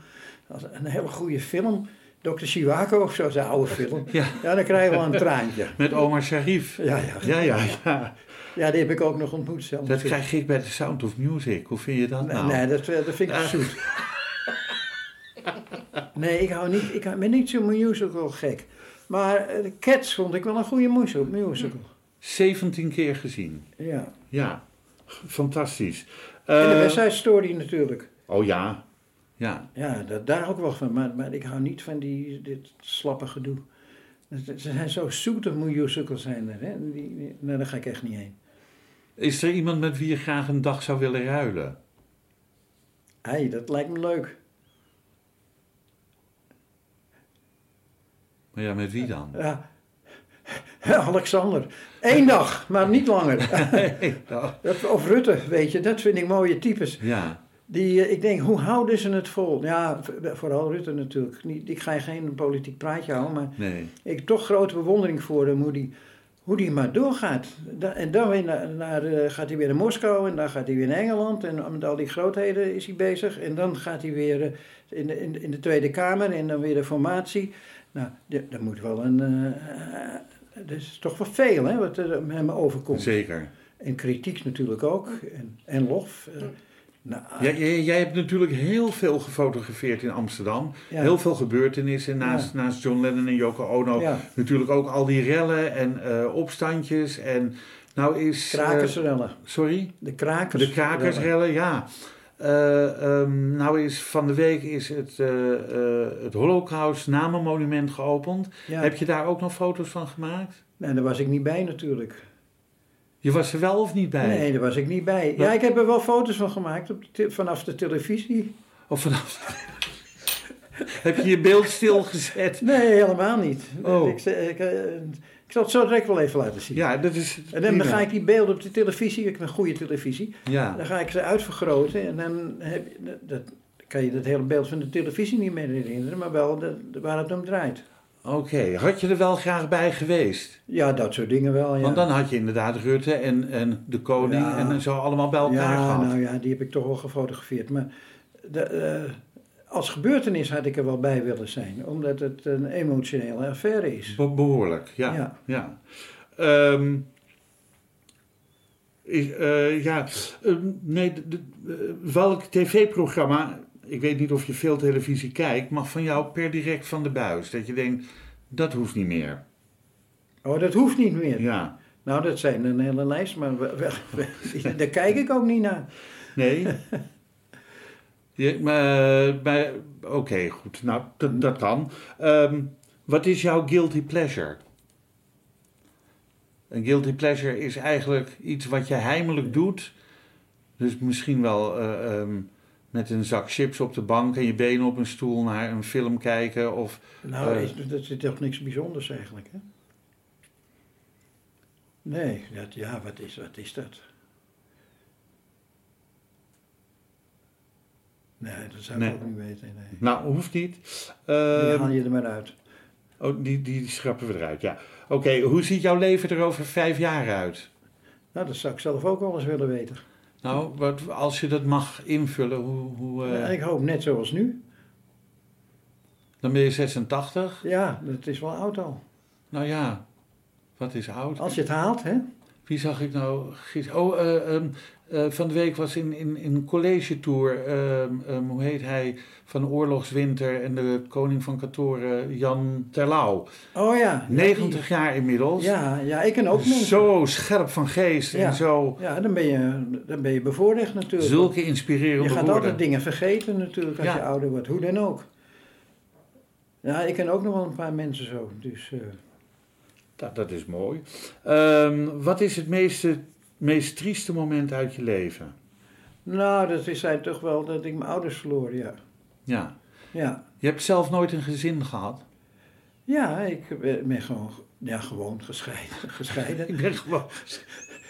[SPEAKER 3] Als een hele goede film. Dr. Siwako of zo, zijn oude film.
[SPEAKER 2] Ja.
[SPEAKER 3] Ja, dan krijg je wel een traantje.
[SPEAKER 2] Met Omar Sharif.
[SPEAKER 3] Ja, ja.
[SPEAKER 2] Ja, ja, ja.
[SPEAKER 3] ja, die heb ik ook nog ontmoet zelf.
[SPEAKER 2] Dat krijg ik bij de Sound of Music. Hoe vind je dat
[SPEAKER 3] Nee,
[SPEAKER 2] nou?
[SPEAKER 3] nee, dat, eh, dat vind ik
[SPEAKER 2] Ah.
[SPEAKER 3] zoet. Nee, ik, hou niet, ik hou- ben niet zo musical gek. Maar eh, Cats vond ik wel een goede musical. musical.
[SPEAKER 2] 17 keer gezien.
[SPEAKER 3] Ja.
[SPEAKER 2] Ja, fantastisch.
[SPEAKER 3] En de
[SPEAKER 2] Eh,
[SPEAKER 3] wedstrijdstory natuurlijk.
[SPEAKER 2] oh ja. Ja,
[SPEAKER 3] Ja, dat, daar ook wel van. Maar, maar ik hou niet van die, dit slappe gedoe. Het- het- Ze zijn zo zoete miljoensukkels zijn er. Hè? Die, die- nou, daar ga ik echt niet heen.
[SPEAKER 2] Is er iemand met wie je graag een dag zou willen ruilen?
[SPEAKER 3] Hé, dat lijkt me leuk.
[SPEAKER 2] Maar ja, met wie dan?
[SPEAKER 3] Ja. Alexander. Eén dag, maar niet langer.
[SPEAKER 2] Nee, nou,
[SPEAKER 3] Of Rutte, weet je. Dat vind ik mooie types.
[SPEAKER 2] ja,
[SPEAKER 3] Die, eh, ik denk, hoe houden ze het vol? Ja, v- vooral Rutte natuurlijk. Niet, ik ga geen politiek praatje houden, maar...
[SPEAKER 2] nee.
[SPEAKER 3] Ik heb toch grote bewondering voor hem, hoe die, hoe die maar doorgaat. Da- en dan weer naar, naar, eh, gaat hij weer naar Moskou en dan gaat hij weer naar Engeland. En met al die grootheden is hij bezig. En dan gaat hij weer eh, in de, in, de- in de Tweede Kamer en dan weer de formatie. Nou, d- dat moet wel een... eh, eh, dat is toch wel veel, hè, wat er hem overkomt.
[SPEAKER 2] Zeker.
[SPEAKER 3] En kritiek natuurlijk ook. En, en lof. eh. nou,
[SPEAKER 2] Jij, jij, jij hebt natuurlijk heel veel gefotografeerd in Amsterdam.
[SPEAKER 3] ja.
[SPEAKER 2] Heel veel gebeurtenissen naast, naast John Lennon en Yoko Ono.
[SPEAKER 3] Ja,
[SPEAKER 2] Natuurlijk ook al die rellen en eh, opstandjes. En nou is. eh,
[SPEAKER 3] krakersrellen.
[SPEAKER 2] sorry?
[SPEAKER 3] De krakers.
[SPEAKER 2] De krakersrellen, ja. Eh, ehm, nou is van de week is het, eh, eh, het Holocaust namenmonument geopend.
[SPEAKER 3] Ja.
[SPEAKER 2] Heb je daar ook nog foto's van gemaakt?
[SPEAKER 3] Nou, daar was ik niet bij natuurlijk.
[SPEAKER 2] Je was er wel of niet bij?
[SPEAKER 3] Nee, daar was ik niet bij. Ja, ik heb er wel foto's van gemaakt op de te- vanaf de televisie.
[SPEAKER 2] Of vanaf... Heb je je beeld stilgezet?
[SPEAKER 3] Nee, helemaal niet.
[SPEAKER 2] Oh.
[SPEAKER 3] Ik, ze- ik, eh, ik zal het zo direct wel even laten zien.
[SPEAKER 2] Ja, dat is...
[SPEAKER 3] En dan
[SPEAKER 2] prima.
[SPEAKER 3] ga ik die beelden op de televisie, ik heb een goede televisie,
[SPEAKER 2] Ja,
[SPEAKER 3] dan ga ik ze uitvergroten en dan heb je, dat- dat, kan je dat hele beeld van de televisie niet meer herinneren, maar wel de- de- waar het om draait.
[SPEAKER 2] oké. Had je er wel graag bij geweest?
[SPEAKER 3] Ja, dat soort dingen wel. Ja.
[SPEAKER 2] Want dan had je inderdaad Rutte en, en de koning
[SPEAKER 3] Ja.
[SPEAKER 2] en zo allemaal bij elkaar
[SPEAKER 3] ja,
[SPEAKER 2] gehad.
[SPEAKER 3] nou ja, die heb ik toch wel gefotografeerd. Maar de, eh, als gebeurtenis had ik er wel bij willen zijn, omdat het een emotionele affaire is.
[SPEAKER 2] Be- behoorlijk, ja.
[SPEAKER 3] ja.
[SPEAKER 2] Ja. Ehm, is, eh, ja. ehm, nee, de- de- eh, welk tv-programma, ik weet niet of je veel televisie kijkt, mag van jou per direct van de buis? Dat je denkt, dat hoeft niet meer.
[SPEAKER 3] Oh, dat hoeft niet meer.
[SPEAKER 2] Ja.
[SPEAKER 3] Nou, dat zijn een hele lijst, maar we- we- we- daar kijk ik ook niet naar.
[SPEAKER 2] Nee? Je- maar, maar- Oké, goed. Nou, dat, dat kan. Ehm, wat is jouw guilty pleasure? Een guilty pleasure is eigenlijk iets wat je heimelijk doet. Dus misschien wel eh, ehm, met een zak chips op de bank en je benen op een stoel naar een film kijken. Of
[SPEAKER 3] Nou,
[SPEAKER 2] Eh.
[SPEAKER 3] is, dat zit toch niks bijzonders eigenlijk, hè? Nee, dat, ja, wat is, wat is dat? Nee, dat zou ik
[SPEAKER 2] Nee.
[SPEAKER 3] ook niet weten, nee.
[SPEAKER 2] Nou, hoeft niet.
[SPEAKER 3] Die
[SPEAKER 2] Ehm,
[SPEAKER 3] haal je er maar uit.
[SPEAKER 2] oh, die, die schrappen we eruit, ja. Oké, hoe ziet jouw leven er over vijf jaar uit?
[SPEAKER 3] Nou, dat zou ik zelf ook wel eens willen weten.
[SPEAKER 2] Nou, wat, als je dat mag invullen, hoe, hoe, eh,
[SPEAKER 3] Ja, ik hoop net zoals nu.
[SPEAKER 2] dan ben je 86.
[SPEAKER 3] Ja, dat is wel oud al.
[SPEAKER 2] Nou ja, wat is oud.
[SPEAKER 3] Als je het haalt, hè?
[SPEAKER 2] Wie zag ik nou gisteren? Oh, eh, ehm, eh, van de week was in, in, in een college tour, ehm, ehm, hoe heet hij, van Oorlogswinter en de koning van Katoren, Jan Terlouw.
[SPEAKER 3] Oh ja.
[SPEAKER 2] 90 jaar inmiddels.
[SPEAKER 3] Ja, ja, ik en ook mensen.
[SPEAKER 2] Zo scherp van geest
[SPEAKER 3] Ja.
[SPEAKER 2] en zo.
[SPEAKER 3] Ja, dan ben, je, dan ben je bevoorrecht natuurlijk.
[SPEAKER 2] Zulke
[SPEAKER 3] je
[SPEAKER 2] inspirerende
[SPEAKER 3] gaat
[SPEAKER 2] woorden.
[SPEAKER 3] altijd dingen vergeten natuurlijk als
[SPEAKER 2] Ja.
[SPEAKER 3] je ouder wordt, hoe dan ook. Ja, ik ken ook nog wel een paar mensen zo. Dus, eh,
[SPEAKER 2] Dat, dat is mooi. Ehm, wat is het meeste, meest trieste moment uit je leven?
[SPEAKER 3] nou, dat is zijn toch wel dat ik mijn ouders verloor, ja.
[SPEAKER 2] Ja.
[SPEAKER 3] Ja,
[SPEAKER 2] Je hebt zelf nooit een gezin gehad.
[SPEAKER 3] ja ik ben ben gewoon, ja, gewoon gescheiden. gescheiden.
[SPEAKER 2] Ik ben gewoon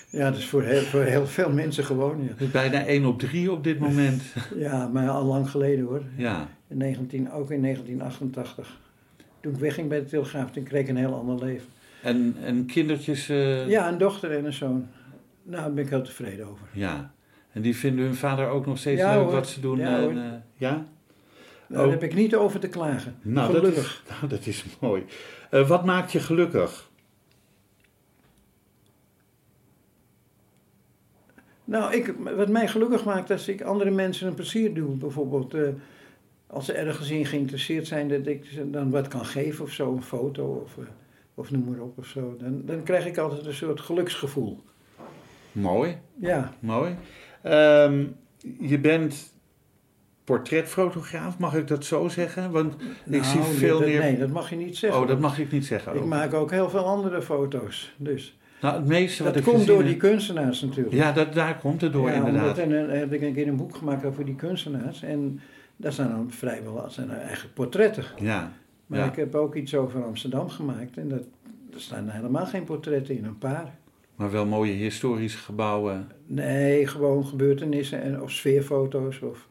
[SPEAKER 3] Ja, dat is voor heel, voor heel veel mensen gewoon, ja.
[SPEAKER 2] bijna 1 op 3 op dit moment.
[SPEAKER 3] Ja, maar al lang geleden hoor.
[SPEAKER 2] Ja.
[SPEAKER 3] In 19, ook in 1988. Toen ik wegging bij de Telegraaf, toen kreeg ik een heel ander leven.
[SPEAKER 2] En, en kindertjes. eh,
[SPEAKER 3] Ja, een dochter en een zoon. Nou, daar ben ik heel tevreden over.
[SPEAKER 2] ja. En die vinden hun vader ook nog steeds
[SPEAKER 3] Ja,
[SPEAKER 2] leuk
[SPEAKER 3] hoor.
[SPEAKER 2] wat ze doen.
[SPEAKER 3] Ja,
[SPEAKER 2] en,
[SPEAKER 3] hoor.
[SPEAKER 2] eh, ja?
[SPEAKER 3] Daar
[SPEAKER 2] Oh.
[SPEAKER 3] heb ik niet over te klagen.
[SPEAKER 2] Nou,
[SPEAKER 3] Gelukkig.
[SPEAKER 2] Dat is, nou, dat is mooi. Eh, wat maakt je gelukkig?
[SPEAKER 3] Nou, ik, wat mij gelukkig maakt, is dat ik andere mensen een plezier doe. Bijvoorbeeld, eh, als ze ergens in geïnteresseerd zijn, dat ik ze dan wat kan geven of zo, een foto of, eh, of noem maar op of zo. Dan, dan krijg ik altijd een soort geluksgevoel.
[SPEAKER 2] Mooi,
[SPEAKER 3] Ja,
[SPEAKER 2] mooi. Ehm, je bent portretfotograaf, mag ik dat zo zeggen? Want
[SPEAKER 3] Nou,
[SPEAKER 2] ik zie
[SPEAKER 3] nee,
[SPEAKER 2] veel
[SPEAKER 3] dat-
[SPEAKER 2] meer.
[SPEAKER 3] Nee, dat mag je niet zeggen.
[SPEAKER 2] oh, dat mag ik niet zeggen.
[SPEAKER 3] Ik
[SPEAKER 2] ook.
[SPEAKER 3] maak ook heel veel andere foto's. Dus.
[SPEAKER 2] Nou, het meeste wat
[SPEAKER 3] Dat
[SPEAKER 2] ik
[SPEAKER 3] komt
[SPEAKER 2] gezien
[SPEAKER 3] door die
[SPEAKER 2] heb-
[SPEAKER 3] kunstenaars natuurlijk.
[SPEAKER 2] Ja, dat, daar komt het door,
[SPEAKER 3] Ja,
[SPEAKER 2] inderdaad.
[SPEAKER 3] omdat- en dan heb ik een keer een boek gemaakt over die kunstenaars. En daar zijn dan vrijwel dat zijn dan eigenlijk portretten.
[SPEAKER 2] Ja,
[SPEAKER 3] Maar
[SPEAKER 2] Ja.
[SPEAKER 3] ik heb ook iets over Amsterdam gemaakt. En dat, er staan helemaal geen portretten in, een paar.
[SPEAKER 2] maar wel mooie historische gebouwen.
[SPEAKER 3] Nee, gewoon gebeurtenissen en, of sfeerfoto's. Of,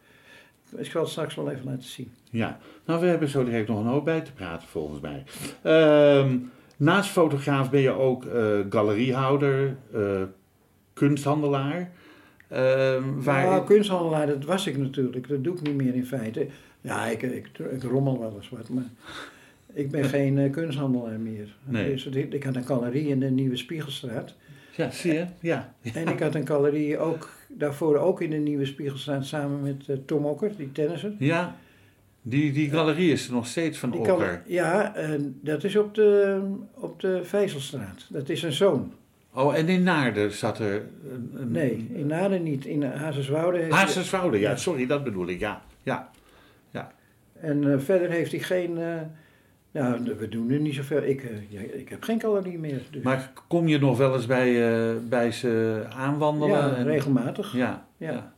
[SPEAKER 3] ik zal het straks wel even laten zien.
[SPEAKER 2] Ja, nou we hebben zo direct nog een hoop bij te praten volgens mij. Ehm, naast fotograaf ben je ook eh, galeriehouder, eh, kunsthandelaar. Ehm, waar
[SPEAKER 3] Nou, kunsthandelaar, dat was ik natuurlijk. Dat doe ik niet meer in feite. Ja, ik, ik, ik rommel wel eens wat, maar ik ben geen eh, kunsthandelaar meer.
[SPEAKER 2] Nee.
[SPEAKER 3] Dus ik, ik had een galerie in de Nieuwe Spiegelstraat.
[SPEAKER 2] Ja, zie je? Ja.
[SPEAKER 3] Eh, En ik had een galerie ook, daarvoor ook in de Nieuwe Spiegelstraat samen met eh, Tom Okker, die tennisser.
[SPEAKER 2] ja. Die, die galerie is er nog steeds van
[SPEAKER 3] Die
[SPEAKER 2] Okker.
[SPEAKER 3] ja, eh, dat is op de, op de Vijzelstraat. Dat is een zoon.
[SPEAKER 2] Oh, en in Naarden zat er... Een, een-
[SPEAKER 3] Nee, in Naden niet. In Hazeswoude. heeft-
[SPEAKER 2] Hazeswoude, ja,
[SPEAKER 3] Ja.
[SPEAKER 2] sorry, dat bedoel ik, ja. ja.
[SPEAKER 3] En eh, verder heeft hij geen... eh, nou, we doen nu niet zoveel. Ik, eh, ja, ik heb geen calorie meer. Dus.
[SPEAKER 2] Maar kom je nog wel eens bij, eh, bij ze aanwandelen?
[SPEAKER 3] ja,
[SPEAKER 2] En-
[SPEAKER 3] regelmatig.
[SPEAKER 2] Ja, ja.
[SPEAKER 3] Ja.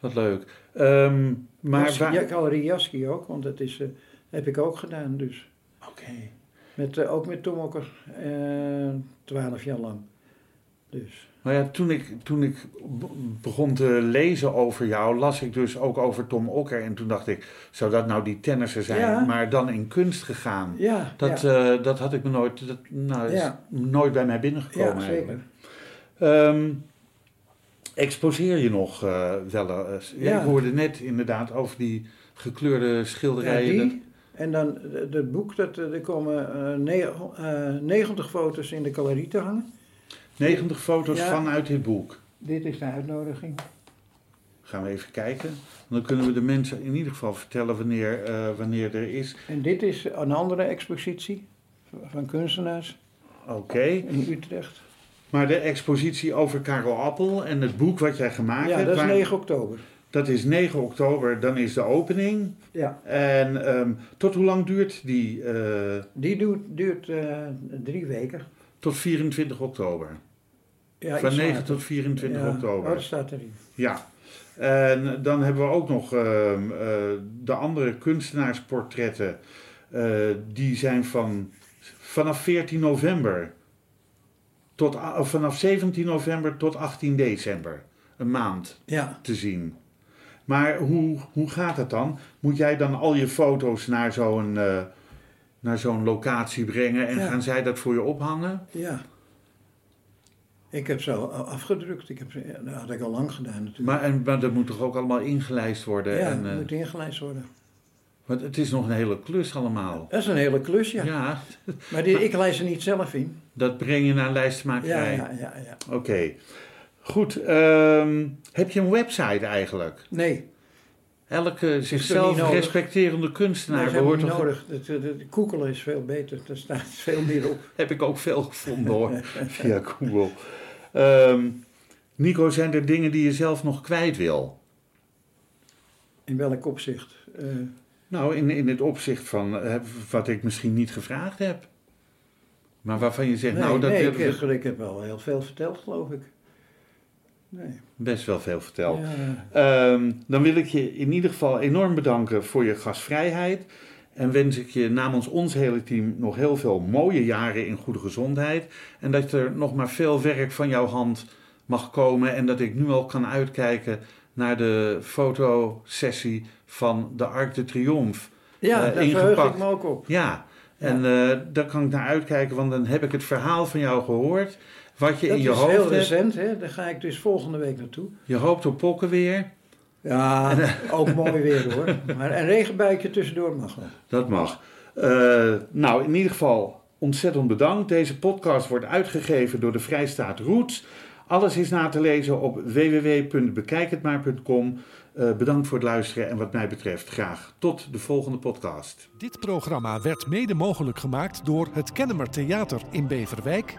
[SPEAKER 2] Wat leuk. Ehm, maar
[SPEAKER 3] Maar
[SPEAKER 2] waar-
[SPEAKER 3] Ja, calorie Jaski ook, want dat is, eh, heb ik ook gedaan dus.
[SPEAKER 2] Oké.
[SPEAKER 3] Met, eh, ook met Tom Okker, eh, twaalf jaar lang. Dus,
[SPEAKER 2] Nou ja, toen ik, toen ik b- begon te lezen over jou, las ik dus ook over Tom Okker. En toen dacht ik, zou dat nou die tennissen zijn,
[SPEAKER 3] Ja.
[SPEAKER 2] maar dan in kunst gegaan?
[SPEAKER 3] ja,
[SPEAKER 2] Dat,
[SPEAKER 3] ja,
[SPEAKER 2] eh, dat had ik me nooit, dat, nou, dat is
[SPEAKER 3] Ja.
[SPEAKER 2] nooit bij mij binnengekomen
[SPEAKER 3] ja, zeker.
[SPEAKER 2] eigenlijk. Ehm, exposeer je nog eh, wel eens? Ja,
[SPEAKER 3] Ja.
[SPEAKER 2] Ik hoorde net inderdaad over die gekleurde
[SPEAKER 3] Ja,
[SPEAKER 2] schilderijen.
[SPEAKER 3] die, en dan eh, dat boek, dat, eh, er komen eh, ne- eh, 90 foto's in de calorie te hangen.
[SPEAKER 2] 90 foto's
[SPEAKER 3] Ja.
[SPEAKER 2] vanuit dit boek.
[SPEAKER 3] Dit is de uitnodiging.
[SPEAKER 2] Gaan we even kijken. Dan kunnen we de mensen in ieder geval vertellen wanneer, eh, wanneer er is.
[SPEAKER 3] En dit is een andere expositie van kunstenaars
[SPEAKER 2] Oké.
[SPEAKER 3] in Utrecht.
[SPEAKER 2] Maar de expositie over Karel Appel en het boek wat jij gemaakt
[SPEAKER 3] Ja,
[SPEAKER 2] hebt,
[SPEAKER 3] dat is
[SPEAKER 2] waar-
[SPEAKER 3] 9 oktober.
[SPEAKER 2] dat is 9 oktober, dan is de opening.
[SPEAKER 3] Ja,
[SPEAKER 2] En ehm, tot hoe lang duurt die? eh,
[SPEAKER 3] die duurt, duurt eh, drie weken.
[SPEAKER 2] tot 24 oktober.
[SPEAKER 3] Ja,
[SPEAKER 2] Van
[SPEAKER 3] iets
[SPEAKER 2] 9
[SPEAKER 3] later.
[SPEAKER 2] tot 24
[SPEAKER 3] Ja,
[SPEAKER 2] oktober.
[SPEAKER 3] Oh, dat staat erin.
[SPEAKER 2] Ja. En dan hebben we ook nog ehm, eh, de andere kunstenaarsportretten. Eh, die zijn van, vanaf 14 november tot a- of vanaf 17 november tot 18 december. Een maand
[SPEAKER 3] Ja,
[SPEAKER 2] te zien. Maar hoe, hoe gaat het dan? Moet jij dan al je foto's naar zo'n eh, naar zo'n locatie brengen en
[SPEAKER 3] Ja.
[SPEAKER 2] gaan zij dat voor je ophangen?
[SPEAKER 3] ja. Ik heb ze al afgedrukt. Ik heb, ze- ja, dat had ik al lang gedaan natuurlijk.
[SPEAKER 2] Maar, en, maar dat moet toch ook allemaal ingelijst worden?
[SPEAKER 3] ja,
[SPEAKER 2] en, eh,
[SPEAKER 3] moet ingelijst worden.
[SPEAKER 2] Want het is nog een hele klus allemaal.
[SPEAKER 3] Dat is een hele klus, ja.
[SPEAKER 2] Ja,
[SPEAKER 3] Maar die, ik lijst ze niet zelf in.
[SPEAKER 2] dat breng je naar
[SPEAKER 3] Ja,
[SPEAKER 2] lijstmakerij.
[SPEAKER 3] ja, ja, ja.
[SPEAKER 2] Oké. Goed, ehm, heb je een website eigenlijk?
[SPEAKER 3] Nee,
[SPEAKER 2] Elke
[SPEAKER 3] niet
[SPEAKER 2] zichzelf
[SPEAKER 3] nodig.
[SPEAKER 2] respecterende kunstenaar
[SPEAKER 3] dat hebben we
[SPEAKER 2] behoort
[SPEAKER 3] niet
[SPEAKER 2] toch-
[SPEAKER 3] nodig. Het, het, het koekelen is veel beter. Daar staat veel meer op.
[SPEAKER 2] Heb ik ook veel gevonden hoor, via Google. Ehm, Nico, zijn er dingen die je zelf nog kwijt wil?
[SPEAKER 3] In welk opzicht? Eh,
[SPEAKER 2] Nou, in, in het opzicht van eh, wat ik misschien niet gevraagd heb. Maar waarvan je zegt,
[SPEAKER 3] nee,
[SPEAKER 2] nou, dat
[SPEAKER 3] nee,
[SPEAKER 2] hebben
[SPEAKER 3] ik,
[SPEAKER 2] we
[SPEAKER 3] ik heb al heel veel verteld, geloof ik. Nee.
[SPEAKER 2] best wel veel verteld.
[SPEAKER 3] Ja.
[SPEAKER 2] Ehm, dan wil ik je in ieder geval enorm bedanken voor je gastvrijheid. En wens ik je namens ons hele team nog heel veel mooie jaren in goede gezondheid. En dat er nog maar veel werk van jouw hand mag komen. En dat ik nu al kan uitkijken naar de fotosessie van de Arc de Triomphe.
[SPEAKER 3] Ja,
[SPEAKER 2] Eh,
[SPEAKER 3] daar verheug
[SPEAKER 2] ingepakt.
[SPEAKER 3] ik me ook op.
[SPEAKER 2] Ja, en eh, daar kan ik naar uitkijken, want dan heb ik het verhaal van jou gehoord. Wat je
[SPEAKER 3] Dat
[SPEAKER 2] in
[SPEAKER 3] is
[SPEAKER 2] je hoofd
[SPEAKER 3] heel
[SPEAKER 2] hebt.
[SPEAKER 3] recent, hè? daar ga ik dus volgende week naartoe.
[SPEAKER 2] Je hoopt op pokken weer.
[SPEAKER 3] Ja, ook mooi weer hoor. Maar een regenbuikje tussendoor mag wel.
[SPEAKER 2] Dat mag. Eh, nou, in ieder geval ontzettend bedankt. Deze podcast wordt uitgegeven door de Vrijstaat Roots. Alles is na te lezen op www.bekijkhetmaar.com. Eh, bedankt voor het luisteren en wat mij betreft graag tot de volgende podcast.
[SPEAKER 1] Dit programma werd mede mogelijk gemaakt door het Kennemer Theater in Beverwijk